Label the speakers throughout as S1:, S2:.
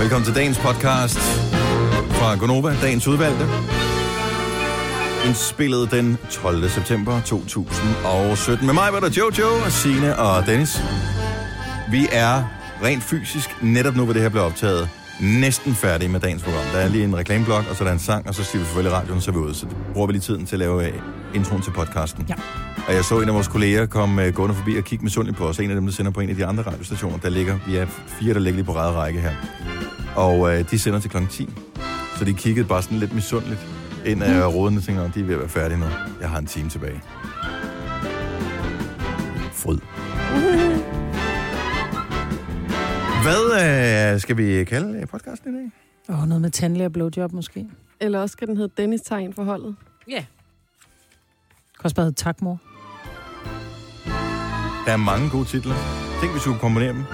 S1: Velkommen til dagens podcast fra Gonova, dagens udvalgte. Indspillet den 12. september 2017 med mig, var der Jojo, og Sine og Dennis. Vi er rent fysisk, netop nu hvor det her bliver optaget, næsten færdige med dagens program. Der er lige en reklameblok, og så er der en sang, og så siger vi farvel i radioen, så er vi ude. Så bruger vi lige tiden til at lave øh, introen til podcasten.
S2: Ja.
S1: Og jeg så en af vores kolleger komme øh, gående forbi og kigge misundeligt på os. En af dem, der sender på en af de andre radiostationer, der ligger. Vi er fire, der ligger lige på ræd række her. Og øh, de sender til klokken 10. Så de kiggede bare sådan lidt misundeligt ind af mm. rådene og tænkte, "Nå, de er ved at være færdige nu. Jeg har en time tilbage. Fryd. Hvad øh, skal vi kalde øh, podcasten i dag?
S2: Åh, oh, noget med tandlæge og blowjob måske. Det
S3: Eller også skal den hedde Dennis tegn for holdet.
S2: kan også bare hedde tak, mor.
S1: Der er mange gode titler. Tænk, hvis vi kunne kombinere dem.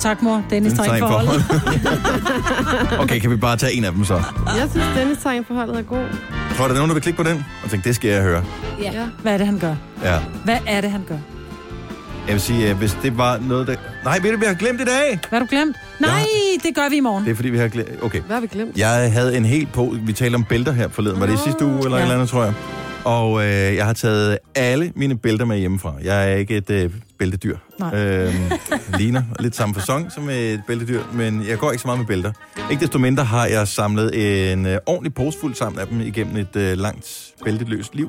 S2: Tak, mor. Dennis
S1: Den
S2: tager ind for
S1: tegn for
S2: holdet.
S1: okay, kan vi bare tage en af dem så?
S3: Jeg synes, Dennis tegn for holdet er god.
S1: Tror du, der er nogen, der vil klikke på den? Og tænke, det skal jeg høre.
S3: Ja. ja.
S2: Hvad er det, han gør?
S1: Ja.
S2: Hvad er det, han gør?
S1: Jeg vil sige, øh, hvis det var noget, der... Nej, ved du, vi har glemt i dag!
S2: Hvad har du glemt? Nej, det gør vi i morgen.
S1: Det er, fordi vi har glemt... Okay.
S3: Hvad har vi glemt?
S1: Jeg havde en helt på... Vi talte om bælter her forleden. Var det i sidste uge eller ja.
S2: Ja.
S1: et eller andet, tror jeg? Og øh, jeg har taget alle mine bælter med hjemmefra. Jeg er ikke et øh, bæltedyr.
S2: Nej.
S1: Øh, ligner lidt samme fasong som et bæltedyr, men jeg går ikke så meget med bælter. Ikke desto mindre har jeg samlet en øh, ordentlig pose fuld sammen af dem igennem et øh, langt bælteløst liv.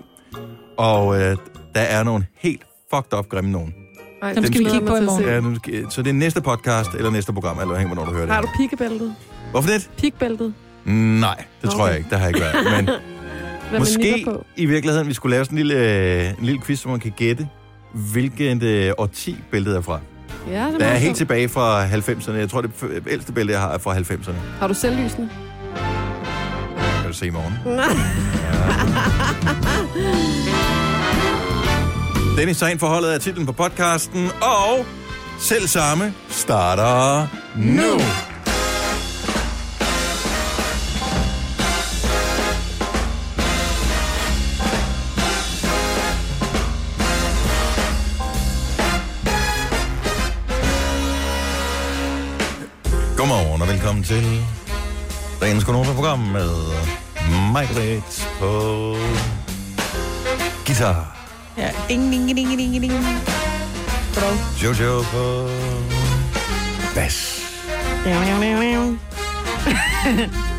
S1: Og øh, der er nogle helt fucked up grimme nogen.
S3: Ej,
S2: Dem skal vi
S3: glæder
S2: kigge
S3: jeg
S2: på
S3: mig
S2: i
S3: til at
S1: Ja,
S3: se.
S1: nu skal- så det er næste podcast eller næste program, eller hænger hvornår du hører det.
S3: Har du pikkebæltet?
S1: Hvorfor det?
S3: Pikbæltet?
S1: Nej, det tror
S3: Okay.
S1: jeg ikke. Det har jeg ikke været. Men
S3: Hvad man
S1: Måske
S3: nipper på?
S1: i virkeligheden, vi skulle lave sådan en lille, øh, en lille quiz, hvor man kan gætte, hvilket øh, årti bæltet er fra.
S3: Ja, det
S1: Der er
S3: meget
S1: helt
S3: sjovt.
S1: tilbage fra 90'erne. Jeg tror, det f- ældste bælte, jeg har, er fra 90'erne.
S3: Har du selvlysende?
S1: Det kan du se i morgen. Dennis Tegn forholdet er titlen på podcasten, og selv samme starter nu. Godmorgen og velkommen til dagens Konoba-program med mig, Britt, på guitar.
S2: Ja. Ding, ding, ding, ding, ding, ding.
S1: Jojo på bas.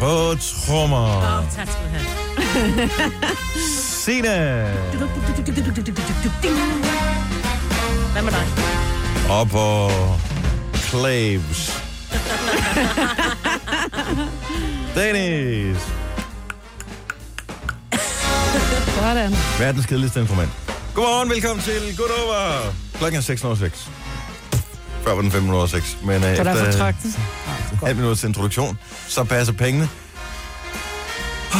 S1: På trommer.
S4: Tak skal du have.
S1: Sine.
S4: Hvad med dig?
S1: Og på claves. Dennis.
S2: Sådan.
S1: Verdens kedeligste instrument. Godmorgen, velkommen til Good Over. Klokken er 6.06. Før var den 5.06, men øh,
S2: Så der er
S1: efter
S2: fortragten.
S1: halv minutters introduktion, så passer pengene. Ah,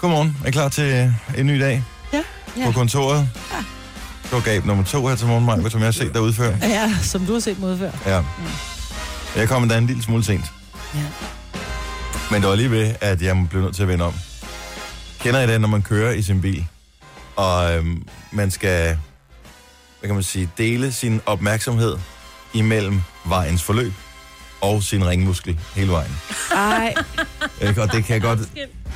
S1: Godmorgen. Er I klar til en ny dag?
S2: Ja.
S1: på
S2: Ja.
S1: kontoret. Det var gab nummer to her til morgen, Maja, som jeg har set dig udføre.
S2: Ja, som du har set mod før.
S1: Ja. Jeg kom endda en lille smule sent.
S2: Mm. Ja.
S1: Men det var lige ved, at jeg blev nødt til at vende om. Kender I det, når man kører i sin bil, og øhm, man skal, hvad kan man sige, dele sin opmærksomhed imellem vejens forløb og sin ringmuskel hele vejen.
S3: Ej,
S1: Ikke? Og det kan jeg godt...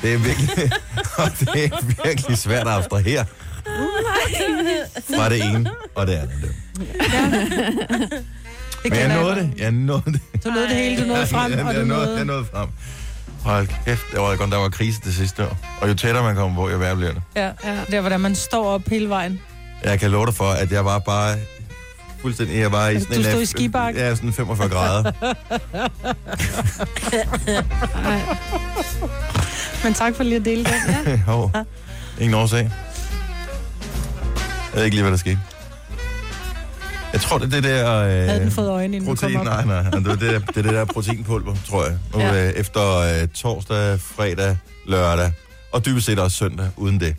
S1: Det er virkelig, og det er virkelig svært at abstrahere fra det ene og det andet.
S2: Det
S1: Men jeg
S2: kender
S1: nåede
S2: godt.
S1: det. Jeg nåede det.
S2: Du nåede det hele, du nåede frem,
S1: jeg,
S2: og du
S1: jeg, nåede, jeg
S2: nåede...
S1: nåede frem. Hold kæft, der var, godt, der var krise det sidste år. Og jo tættere man kommer på, jo værre bliver det.
S2: Ja, det er, hvordan man står op hele vejen.
S1: Jeg kan love dig for, at jeg var bare fuldstændig... Jeg var i
S2: Du
S1: sådan en,
S2: stod
S1: af-
S2: i skibakke?
S1: Ja, sådan 45 grader.
S3: ej.
S2: Men tak for lige at dele det. Ja.
S1: Hov. Ingen årsag. Jeg ved ikke lige, hvad der skete. Jeg tror, det er det der... Øh,
S2: Havde den fået øjne, inden du kom
S1: Protein,
S2: op?
S1: nej, nej. Det er det, der, det, er det der proteinpulver, tror jeg. Og, ja.
S3: Ja.
S1: øh, efter øh, torsdag, fredag, lørdag og dybest set også søndag uden det.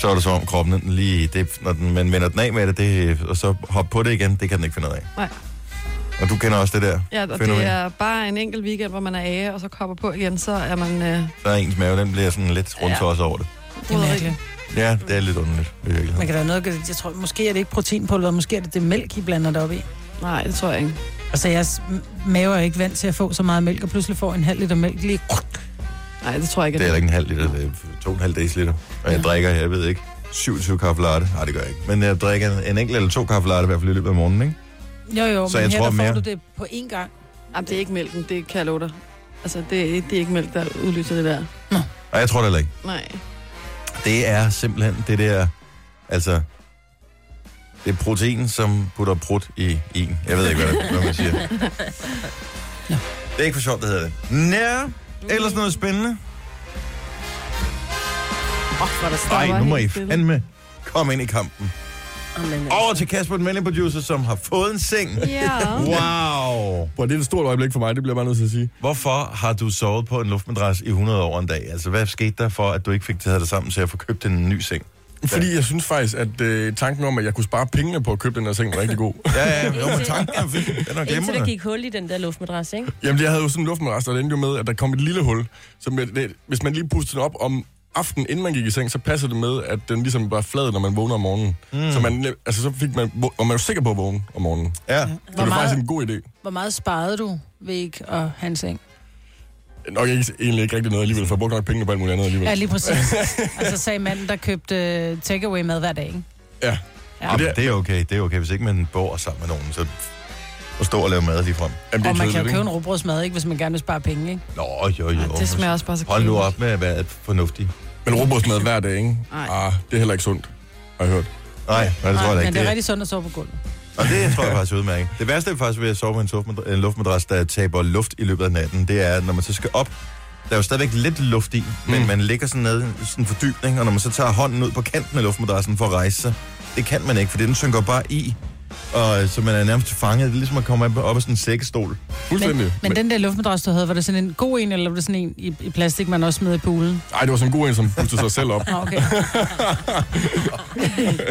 S1: Så er det som om kroppen den lige, det, når den, man vender den af med det, det, og så hopper på det igen, det kan den ikke finde ud af.
S3: Nej.
S1: Og du kender også det der.
S3: Ja, og
S1: Fænomen.
S3: det er bare en enkelt weekend, hvor man er af, og så kopper på igen, så er man... Øh,
S1: Der er ens mave, den bliver sådan lidt rundt ja. over det.
S2: Det er mærkeligt.
S1: Ja, det er lidt underligt. i virkeligheden.
S2: Man kan da noget, jeg tror, måske er det ikke proteinpulver, måske er det det mælk, I blander det op i.
S3: Nej, det tror jeg ikke.
S2: Altså, jeres m- mave er ikke vant til at få så meget mælk, og pludselig får en halv liter mælk lige...
S3: Nej, det tror jeg ikke.
S1: Det er heller ikke en halv liter, det er 2,5 deciliter. Og jeg drikker, jeg ved ikke, 27 kaffe latte. Nej, det gør jeg ikke. Men jeg drikker en- en enkelt eller to kaffe latte i hvert fald i løbet af morgenen, ikke?
S2: Jo, jo,
S1: Så
S2: men
S1: jeg
S2: her
S1: tror
S2: der får
S1: mere-
S2: du det på én gang.
S3: Jamen, det er ikke mælken, det kan jeg love dig. Altså, det, er- det er ikke mælk, der udløser det der.
S1: Og jeg tror det heller ikke.
S3: Nej.
S1: Det er simpelthen det der, altså, det er protein, som putter prut i en. Jeg ved ikke, hvad, det, hvad man siger. Det er ikke for sjovt, det hedder det. Nå, ellers noget spændende.
S4: Åh, hvor er der stort.
S1: Nej, nu må I
S3: helt stille.
S1: fandme komme ind i kampen. Over til Kasper, den mandlige producer, som har fået en seng.
S3: Ja.
S1: Wow.
S5: Bro, det er et stort øjeblik for mig, det bliver jeg bare nødt til at sige.
S1: Hvorfor har du sovet på en luftmadras i 100 år en dag? Altså, hvad skete der for, at du ikke fik taget dig sammen til at få købt en ny seng?
S5: Fordi jeg synes faktisk, at øh, tanken om, at jeg kunne spare pengene på at købe den her seng, var rigtig god.
S1: Ja, ja, jo, men tanken er fint. Den er
S4: Indtil der
S1: glemrende.
S4: gik hul i den der luftmadras, ikke?
S5: Jamen, jeg havde jo sådan en luftmadras, og det endte jo med, at der kom et lille hul. Så med, det, hvis man lige pustede den op om aftenen, inden man gik i seng, så passede det med, at den ligesom var flad, når man vågner om morgenen. Mm. Så, man, ne- altså, så fik man, vå- og man var sikker på at vågne om morgenen. Så
S1: Ja.
S5: det
S2: Hmm. Hvor
S5: var
S2: meget-
S5: faktisk en god idé.
S2: Hvor meget sparede du ved ikke at have en seng?
S5: Nok ikke, egentlig ikke rigtig noget alligevel, for jeg brugte nok pengene på alt muligt andet alligevel.
S2: Ja, lige præcis. altså sagde manden, der købte øh, takeaway-mad hver dag, ikke?
S5: Ja.
S2: Ja.
S1: Jamen, det er okay, det er okay. Hvis ikke man bor sammen med nogen, så og står og laver mad lige frem.
S5: Jamen, det er
S2: Og man kan jo
S5: kedeligt,
S2: købe en
S5: ikke?
S2: råbrødsmad, ikke, hvis man gerne vil spare penge, ikke?
S1: Nå, jo, jo.
S3: Ej, det smager også bare så
S1: Hold nu
S3: kedeligt.
S1: op med at være fornuftig.
S5: Men robotsmad hver dag, ikke?
S3: Nej.
S5: Ah, det er heller ikke sundt, har jeg hørt.
S1: Nej, nej, det tror jeg da
S2: Nej,
S1: ikke.
S2: men det er rigtig sundt at sove på gulvet.
S1: Og det tror jeg faktisk er udmærket. Det værste er faktisk ved at sove på en, sofa- en luftmadras, der taber luft i løbet af natten, det er, at når man så skal op, der er jo stadigvæk lidt luft i, men
S5: Mm.
S1: man ligger sådan nede i sådan en fordybning, og når man så tager hånden ud på kanten af luftmadrassen for at rejse sig, det kan man ikke, for den synker bare i, og så man er nærmest fanget. Det er ligesom at komme op- op af sådan en sækkestol.
S5: Fuldstændig.
S2: Men, men den der luftmadras, du havde, var det sådan en god en, eller var det sådan en i, i plastik, man også smed i poolen?
S5: Ej, det var sådan en god en, som pustede sig selv op.
S2: Nå, okay.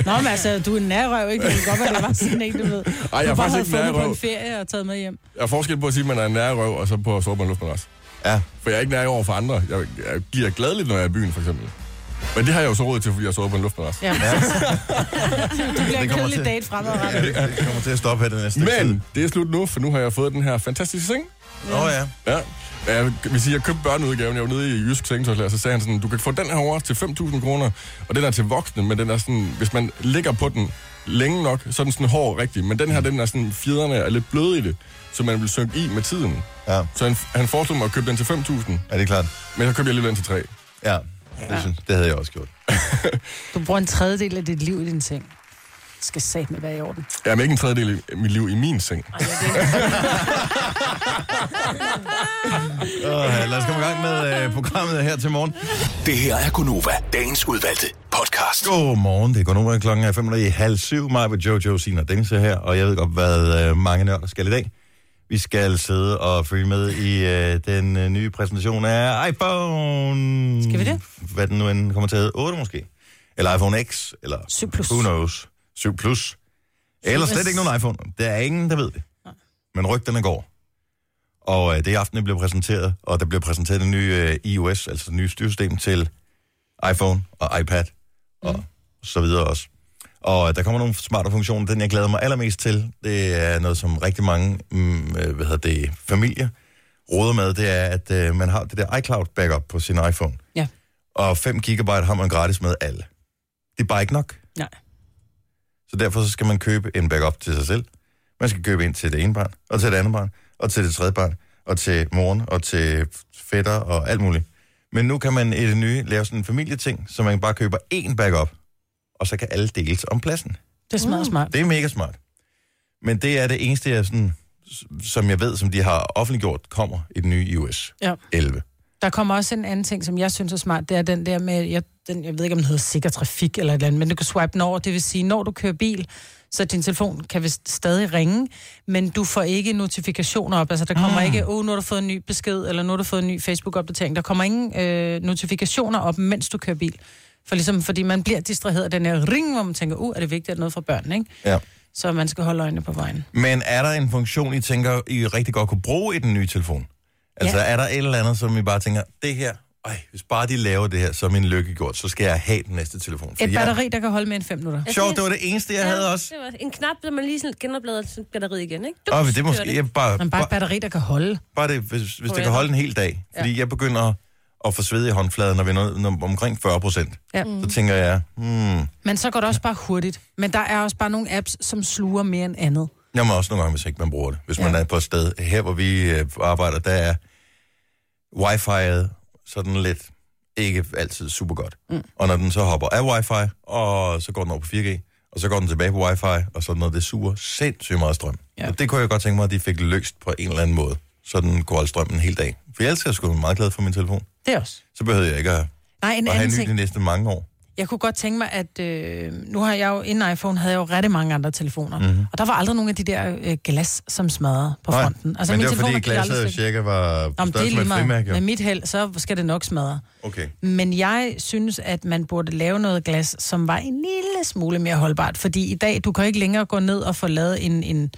S2: Nå, men altså, du er en nærrøv, ikke? Det kan godt være, det var sådan en, du ved.
S5: Ej, jeg
S2: du
S5: er
S2: bare
S5: faktisk ikke
S2: havde
S5: en
S2: fundet på
S5: nærrøv.
S2: en ferie og taget med hjem.
S5: Jeg er forskel på at sige, at man er en nærrøv, og så på at sove på en luftmadras.
S1: Ja,
S5: For jeg er ikke nær over for andre. Jeg, jeg giver gladeligt, når jeg er i byen, for eksempel. Men det har jeg jo så råd til, fordi jeg sover på en luftmadras.
S2: Ja. du bliver en
S1: kommer
S2: kedelig
S1: til-
S2: date fremadrettet.
S1: det det kommer til at stoppe her den næste tid.
S5: Men det er slut nu, for nu har jeg fået den her fantastiske seng.
S1: Nå ja.
S5: Ja. Jeg vil sige, jeg købte børneudgaven, jeg var nede i Jysk Sengtøjslærer, så sagde han sådan, du kan få den her over til 5.000 kroner, og den er til voksne, men den er sådan, hvis man ligger på den længe nok, så er den sådan hård rigtig, men den her, den er sådan, fjederne er lidt bløde i det, så man vil synke i med tiden.
S1: Ja,
S5: Så han, han foreslog mig at købe den til 5.000,
S1: er det klart?
S5: men så købte jeg lige den til 3.
S1: Ja, det, synes, det havde jeg også gjort.
S2: Du bruger en tredjedel af dit liv i din seng. Det skal satme være i orden.
S5: Jamen ikke en tredjedel af mit liv i min seng.
S1: Uh, lad os komme i gang med uh, programmet her til morgen.
S6: Det her er Gunova, dagens udvalgte podcast.
S1: Godmorgen, det er Gunova. Klokken er fem minutter i halv syv. Mig ved Jojo, Sina og Dennis er her, og jeg ved godt, hvad øh, mange nørder skal i dag. Vi skal sidde og følge med i øh, den øh, nye præsentation af iPhone.
S2: Skal vi det?
S1: Hvad den nu end kommer til at hedde. 8 måske. Eller iPhone X, eller
S2: 7 plus.
S1: who knows. 7 plus. Eller slet ikke nogen iPhone. Der er ingen, der ved det. Men rygterne går. Og øh, det er i aften, det bliver præsenteret, og der bliver præsenteret det nye øh, iOS, altså det nye styresystem til iPhone og iPad og så videre også. Og øh, der kommer nogle smarte funktioner. Den, jeg glæder mig allermest til, det er noget, som rigtig mange mm, øh, hvad hedder det, familier råder med, det er, at øh, man har det der iCloud-backup på sin iPhone.
S2: Ja.
S1: Og 5 GB har man gratis med alle. Det er bare ikke nok.
S2: Nej.
S1: Så derfor så skal man købe en backup til sig selv. Man skal købe ind til det ene barn, og til det andet barn, og til det tredje barn, og til moren, og til fætter, og alt muligt. Men nu kan man i det nye lave sådan en familieting, så man bare køber én backup, og så kan alle deles om pladsen.
S2: Det smager mm. smart.
S1: Det er mega smart. Men det er det eneste, jeg sådan, som jeg ved, som de har offentliggjort, kommer i den nye iOS
S2: Ja.
S1: 11.
S2: Der kommer også en anden ting, som jeg synes er smart, det er den der med, jeg, den, jeg ved ikke, om den hedder sikker trafik eller et eller andet, men du kan swipe den over, det vil sige, når du kører bil, så din telefon kan vist stadig ringe, men du får ikke notifikationer op. Altså, der kommer mm. ikke, åh, oh, nu har du fået en ny besked, eller nu har du fået en ny Facebook-opdatering. Der kommer ingen øh, notifikationer op, mens du kører bil. For ligesom, fordi man bliver distraheret af den her ring, hvor man tænker, uh, er det vigtigt, at noget fra børnene, ikke?
S1: Ja.
S2: Så man skal holde øjnene på vejen.
S1: Men er der en funktion, I tænker, I rigtig godt kunne bruge i den nye telefon? Altså, ja.
S2: Ja.
S1: er der et eller andet, som I bare tænker, det her Ej, hvis bare de laver det her som en lykke gjort, så skal jeg have den næste telefon.
S2: Et
S1: jeg...
S2: batteri, der kan holde mere end 5 minutter.
S1: Sjovt, det var det eneste, jeg ja, havde også.
S4: Det var en knap, der man lige sådan genoplader sådan batteriet igen, ikke?
S1: Åh,
S4: Dups,
S1: men det er
S4: kører
S1: måske... Jeg bare,
S2: Men bare et
S1: bare,
S2: batteri, der kan holde.
S1: bare det, hvis, hvis det kan
S4: Forever.
S1: holde en hel dag. Fordi jeg begynder at få sved i håndfladen, når vi er nået- når, omkring 40 procent.
S2: Ja.
S1: Så tænker jeg, hmm,
S2: Men så går det også bare hurtigt. Men der er også bare nogle apps, som sluger mere end andet.
S1: jeg må også nogle gange, hvis ikke man bruger det. Hvis man
S2: Ja.
S1: er på et sted, her hvor vi øh, arbejder, der er wifi'et sådan lidt ikke altid super godt. Mm. Og når den så hopper af wifi, og så går den over på 4G, og så går den tilbage på wifi, og sådan noget, det suger sindssygt meget strøm. Ja.
S2: Ja.
S1: Og det kunne jeg godt tænke mig, at de fik løst på en eller anden måde, så den kunne holde strømmen en hel dag. For ellers er jeg sgu meget glad for min telefon.
S2: Det er også.
S1: Så behøvede jeg ikke at,
S2: Nej, en
S1: at have
S2: anden
S1: en ny
S2: ting.
S1: de næste mange år.
S2: Jeg kunne godt tænke mig, at øh, nu har jeg jo, inden iPhone, havde jeg jo rigtig mange andre telefoner. Mm-hmm. Og der var aldrig nogen af de der øh, glas, som smadrede på
S1: Mhm. Nej,
S2: fronten. Altså,
S1: men det var fordi
S2: gik aldrig
S1: glasset
S2: stykker.
S1: cirka var
S2: Nå,
S1: på
S2: men det er
S1: størrelse med
S2: lige
S1: et
S2: meget.
S1: frimærke.
S2: Med
S1: jo.
S2: mit held, så skal det nok smadre.
S1: Okay.
S2: Men jeg synes, at man burde lave noget glas, som var en lille smule mere holdbart. Fordi i dag, du kan ikke længere gå ned og få lavet en, en,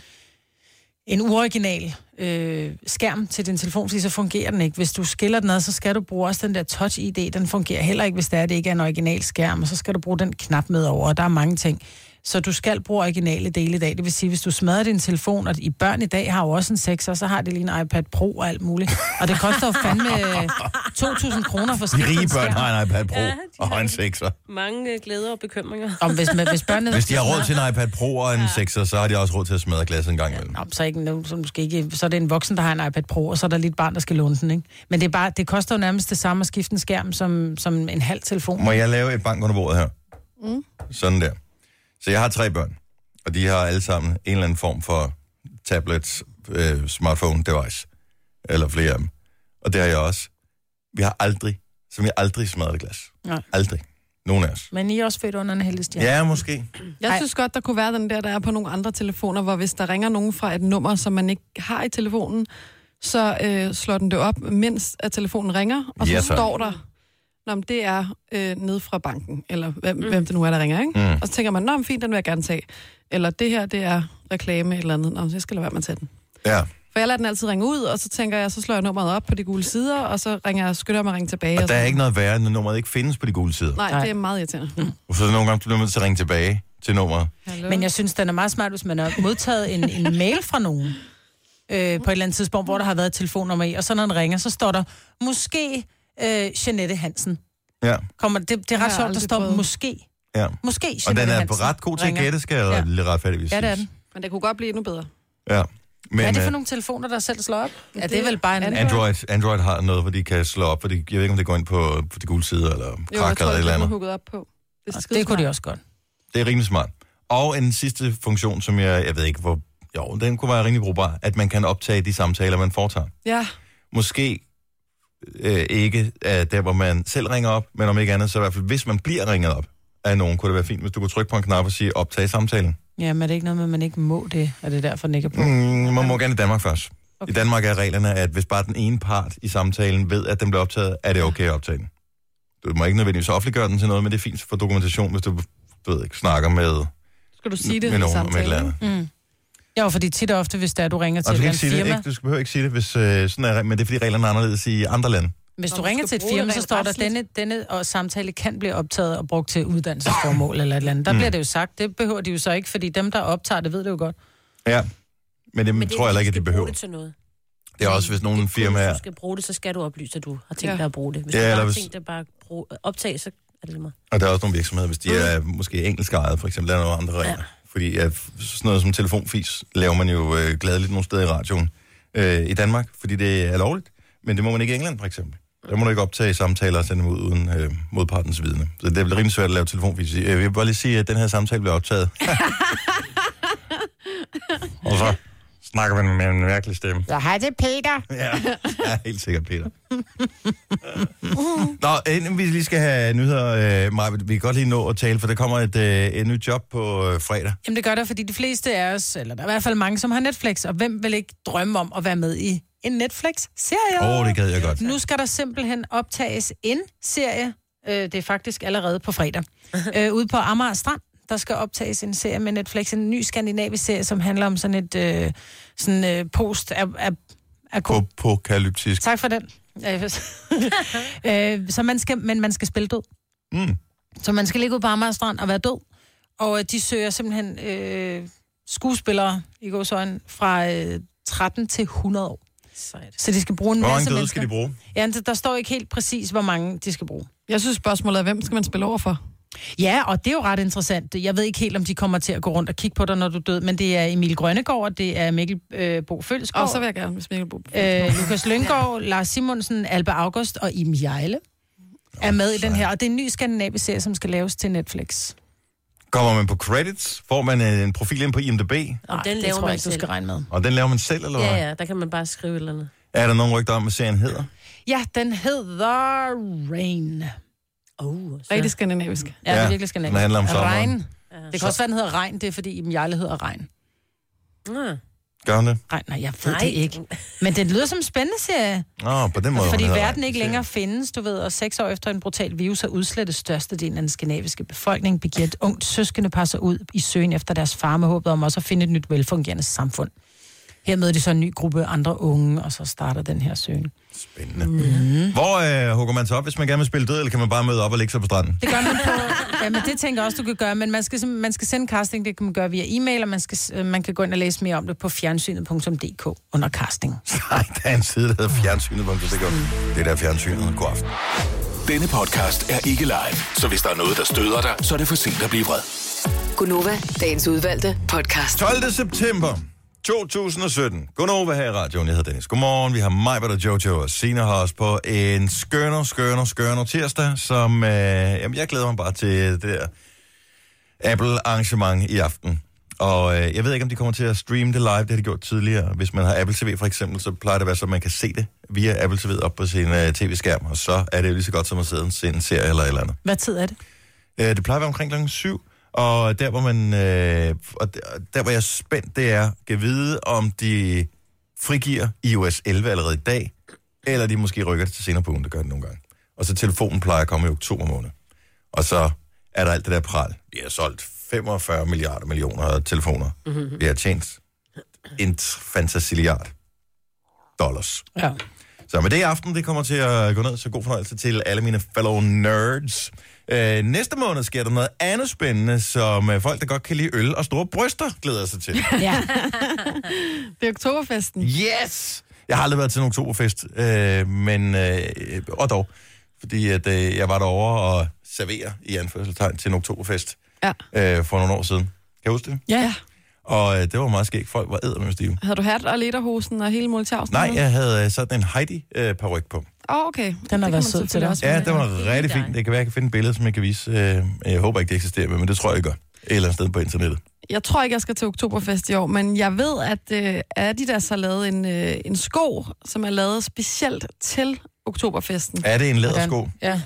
S2: en uoriginal øh, skærm til din telefon, fordi så fungerer den ikke. Hvis du skiller den ad, så skal du bruge også den der Touch ID. Den fungerer heller ikke, hvis det, er, det ikke er en original skærm. Og så skal du bruge den knap med over, og der er mange ting. Så du skal bruge originale dele i dag. Det vil sige, hvis du smadrer din telefon, og i børn i dag har jo også en 6, og så har de lige en iPad Pro og alt muligt. Og det koster jo fandme øh, 2.000 kroner for
S1: De
S2: sådan
S1: rige
S2: en
S1: børn
S2: skærm.
S1: har en iPad Pro
S4: Ja, de
S1: og
S4: har
S1: en
S4: det.
S1: 6'er.
S4: Mange øh, glæder og bekymringer.
S2: Om hvis, man, hvis børnene...
S1: Hvis de har råd til en iPad Pro og en 6'er, så har de også råd til at smadre glasset en gang imellem.
S2: Nå, men så, er ikke, nogen, så, måske ikke, så er det en voksen, der har en iPad Pro, og så er der lige et barn, der skal låne den, ikke? Men det, er bare, det koster jo nærmest det samme at skifte en skærm som, som en halv telefon.
S1: Må jeg lave et bank under bordet her?
S4: Mm.
S1: Sådan der. Så jeg har tre børn, og de har alle sammen en eller anden form for tablet, øh, smartphone, device. Eller flere af dem. Og det har jeg også. Vi har aldrig, som jeg aldrig smadret glas.
S2: Nej.
S1: Aldrig. Nogen af os.
S2: Men I er også født under en heldig stjerne.
S1: Ja, måske.
S3: Jeg
S2: Ej.
S3: Ej. synes godt, der kunne være den der, der er på nogle andre telefoner, hvor hvis der ringer nogen fra et nummer, som man ikke har i telefonen, så øh, slår den det op, mens at telefonen ringer, og så
S1: Ja,
S3: ja,
S1: tak.
S3: står der, Nå, men det er øh, ned fra banken, eller hvem, mm. hvem det nu er, der ringer, ikke?
S1: Mm.
S3: Mm. Og så tænker man, nå, men fint, den vil jeg gerne tage. Eller det her, det er reklame et eller andet. Nå, men så skal jeg lade være med at tage den.
S1: Ja.
S3: For jeg lader den altid ringe ud, og så tænker jeg, så slår jeg nummeret op på de gule sider, og så ringer jeg, skynder jeg mig at ringe tilbage.
S1: Og der er
S3: sådan.
S1: ikke noget værre, når nummeret ikke findes på de gule sider.
S3: Nej,
S2: Nej.
S3: det er meget irriterende. Mm.
S1: Så nogle gange bliver man nødt til at ringe tilbage til nummeret.
S2: Men jeg synes, den er meget smart, hvis man har modtaget en, en mail fra nogen øh, på et eller andet tidspunkt, hvor der har været et telefonnummer i, og så når den ringer, så står der, måske øh, Janette Hansen.
S1: Ja,
S2: Kommer, det, det er
S3: har
S2: ret
S3: jeg
S2: sjovt, der
S3: aldrig
S2: står,
S3: prøvet.
S2: måske.
S1: ja.
S2: Måske Janette
S1: Og den
S2: Hansen
S1: er ret god til at
S2: ringer.
S1: gætte, skal jeg
S2: Ja.
S1: ja. lidt retfærdigvis
S2: Ja, det er
S1: sige.
S2: den.
S3: Men det kunne godt blive endnu bedre.
S1: Ja. Men
S2: Hvad er det for
S1: øh,
S2: nogle telefoner, der selv slår op? Ja, det er vel bare en...
S3: Android.
S1: Android, Android har noget, hvor de kan slå op, for de, jeg ved ikke, om det går ind på, på de gule sider, eller
S3: Jo, jeg
S1: krak
S3: tror,
S1: eller et
S3: det
S1: eller
S3: er
S1: andet.
S3: hooket op på. Det, er
S2: Det kunne
S3: skidesmart.
S2: de også godt.
S1: Det er rimelig smart. Og en sidste funktion, som jeg, jeg ved ikke, hvor... Jo, den kunne være rimelig brugbar, at man kan optage de samtaler, man foretager.
S3: Ja,
S1: Måske øh, ikke øh, der, hvor man selv ringer op, men om ikke andet, så i hvert fald, hvis man bliver ringet op af nogen, kunne det være fint, hvis du kunne trykke på en knap og sige, optage samtalen.
S2: Ja, men er det ikke noget med, at man ikke må det? Er det derfor, den ikke er på?
S1: Mm, man må gerne i Danmark først. Okay.
S2: Okay.
S1: I Danmark er reglerne, at hvis bare den ene part i samtalen ved, at den bliver optaget, er det okay at optage den. Du må ikke nødvendigvis offentliggøre den til noget, men det er fint for dokumentation, hvis du du ved ikke, snakker med,
S3: skal du sige det
S1: med
S3: i
S1: nogen om et
S3: samtalen?
S1: eller andet.
S2: Mm. Jo, fordi tit og ofte, hvis det er, du ringer til
S1: Og du,
S2: et
S1: skal
S2: eller
S1: ikke sige
S2: andet
S1: det,
S2: firma,
S1: ikke, du skal behøver ikke sige det, hvis øh, sådan er, re- men det er fordi reglerne er anderledes i andre lande.
S2: hvis
S3: Nå,
S2: du
S3: du
S2: ringer
S3: skal
S2: til et
S3: bruge
S2: firma,
S3: det
S2: så
S3: rent
S2: står der,
S3: retligt.
S2: denne, denne og samtale kan blive optaget og brugt til uddannelsesformål eller et eller
S1: Mm.
S2: andet. Der bliver det jo sagt. Det behøver de jo så ikke, fordi dem, der optager det, ved det jo godt.
S1: Ja, men det, men
S4: Men
S1: det
S4: det
S1: tror jeg
S4: er,
S1: heller ikke, at
S4: hvis
S1: de
S4: du
S1: behøver.
S4: bruger Det til noget.
S1: Det er også, hvis nogle
S4: Hvis
S1: firmaer...
S4: du skal bruge det, så skal du oplyse, at du har tænkt
S3: Ja.
S4: dig at bruge det. Hvis
S1: Ja,
S4: ja, du
S1: eller
S4: bare har
S1: hvis-
S4: tænkt dig bare at bruge, øh, optage, så er det lige meget.
S1: Og der er også nogle virksomheder, hvis de er måske engelsk ejet, for eksempel, der er nogle andre regler. Ja. Fordi ja, f- sådan noget som telefonfis laver man jo øh, gladeligt nogle steder i radioen øh, i Danmark, fordi det er lovligt. Men det må man ikke i England, for eksempel. Der må du ikke optage samtaler og sende dem ud uden øh, modpartens vidne. Så det er rimelig svært at lave telefonfis. i. Øh, Jeg vil bare lige sige, at den her samtale bliver optaget. og så snakker man med en mærkelig stemme.
S2: Så hej, det Peter.
S1: Ja, ja helt sikkert, Peter. Nå, inden vi lige skal have nyheder, øh, Maja, vi kan godt lige nå at tale, for der kommer et, øh, et nyt job på øh, fredag.
S2: Jamen det gør det, fordi de fleste af os, eller der er i hvert fald mange, som har Netflix, og hvem vil ikke drømme om at være med i en Netflix-serie?
S1: Åh, oh, det gad jeg godt.
S2: Nu skal der simpelthen optages en serie, øh, det er faktisk allerede på fredag, øh, ude på Amager Strand. Der skal optages en serie med Netflix, en ny skandinavisk serie, som handler om sådan et øh, sådan, øh, post af, af, af
S1: Apokalyptisk.
S2: Tak for den. øh, så man skal, men man skal spille død.
S1: Mm.
S2: Så man skal ligge ude på Amager Strand og være død. Og øh, de søger simpelthen øh, skuespillere i går fra øh, 13 til 100 år.
S4: Sejt.
S2: Så de skal bruge en
S1: Hvor mange
S2: masse
S1: døde
S2: mennesker.
S1: skal de bruge?
S2: Ja, der står ikke helt præcis, hvor mange de skal bruge.
S3: Jeg synes spørgsmålet er, hvem skal man spille over for?
S2: Ja, og det er jo ret interessant. Jeg ved ikke helt, om de kommer til at gå rundt og kigge på dig, når du er død, men det er Emil Grønnegård, og det er Mikkel øh, Bo Følsgaard,
S3: Og så vil jeg gerne, hvis Mikkel Bo.
S2: øh, Lukas Lyngård, Lars Simonsen, Alba August og Im Jejle er med i den her. Og det er en ny skandinavisk serie, som skal laves til Netflix.
S1: Kommer man på credits? Får man øh, en profil ind på IMDb?
S4: Og den
S2: det
S4: laver
S2: tror jeg
S4: man
S2: ikke, du
S4: selv.
S2: skal regne med.
S1: Og den laver man selv, eller hvad?
S4: Ja, ja, der kan man bare skrive et eller andet.
S1: Er der nogen rygter om, hvad serien hedder?
S2: Ja, den hedder Rain.
S4: Oh, så.
S3: Rigtig skandinavisk.
S2: Ja, ja det
S1: Ja,
S2: er virkelig skandinavisk.
S1: den handler om sommeren.
S2: Regn. Det kan også være, den hedder Regn. Det er, fordi Im Jejle hedder Regn.
S4: Ah,
S1: Gør hun det?
S2: Regn, nej, jeg ved
S4: nej.
S2: det ikke. Men den lyder som en spændende serie.
S1: Nå, på den måde.
S2: Altså, fordi
S1: hun hedder Regn.
S2: verden ikke længere findes, du ved, og seks år efter en brutal virus har udslettet størstedelen af den skandinaviske befolkning, begiver et ungt søskende passer ud i søgen efter deres far med håbet om også at finde et nyt velfungerende samfund. Her møder de så en ny gruppe andre unge, og så starter den her søgen.
S1: Spændende. Mm. Hvor øh, hugger man sig op, hvis man gerne vil spille død, eller kan man bare møde op og ligge sig på stranden?
S2: Det gør man på... ja, men det tænker jeg også, du kan gøre, men man skal, sim- man skal sende casting, det kan man gøre via e-mail, og man, skal, s- øh, man kan gå ind og læse mere om det på fjernsynet.dk under casting.
S1: Nej, der er en side, der hedder fjernsynet, hvor man kan Det er der fjernsynet. God aften.
S6: Denne podcast er ikke live, så hvis der er noget, der støder dig, så er det for sent at blive vred.
S7: Gunova, dagens udvalgte podcast.
S1: 12. september 2017. Godnova her i radioen. Jeg hedder Dennis. Godmorgen. Vi har mig, og Jojo og Sina har os på en skønner, skønner, skønner tirsdag, som øh, jamen, jeg glæder mig bare til det der Apple-arrangement i aften. Og øh, jeg ved ikke, om de kommer til at streame det live, det har de gjort tidligere. Hvis man har Apple TV for eksempel, så plejer det at være så, at man kan se det via Apple TV op på sin øh, tv-skærm, og så er det jo lige så godt som at sidde og se en serie eller et eller andet.
S2: Hvad tid er det?
S1: Øh, det plejer at være omkring klokken 7. Og der, hvor man, øh, og der, og der, hvor jeg er spændt, det er, kan vide, om de frigiver iOS 11 allerede i dag, eller de måske rykker det til senere på ugen, det gør det nogle gange. Og så telefonen plejer at komme i oktober måned. Og så er der alt det der pral. Vi har solgt 45 milliarder millioner telefoner. Mm-hmm. Vi har tjent en t- fantasiliard dollars.
S2: Ja.
S1: Så med det i aften, det kommer til at gå ned, så god fornøjelse til alle mine fellow nerds. Øh, næste måned sker der noget andet spændende, som øh, folk, der godt kan lide øl og store bryster, glæder sig til.
S2: ja.
S3: Det er oktoberfesten.
S1: Yes! Jeg har aldrig været til en oktoberfest, øh, men, øh, og dog, fordi at, øh, jeg var derovre og serverer i anførselstegn til en oktoberfest
S3: Ja.
S1: øh, for nogle år siden. Kan du huske det?
S3: Ja.
S1: Og øh, det var meget skægt. Folk var ædermøde stive.
S3: Havde du hat og lederhosen og hele måltavsen?
S1: Nej, jeg havde øh, sådan en heidi øh, paryk på.
S3: Åh, oh, okay. Det
S2: været
S3: kan man
S2: sød til
S3: selvfølgelig
S2: dig.
S3: også
S1: Ja,
S3: vælge.
S1: det var rigtig
S4: dig.
S1: fint. Det kan være, jeg kan finde billeder, som jeg kan vise. Øh, Jeg håber ikke, det eksisterer, men det tror jeg, jeg gør. Et eller andet sted på internettet.
S3: Jeg tror ikke, jeg skal til Oktoberfest i år, men jeg ved, at øh, Adidas har lavet en, øh, en sko, som er lavet specielt til Oktoberfesten.
S1: Er det en lædersko?
S2: ja.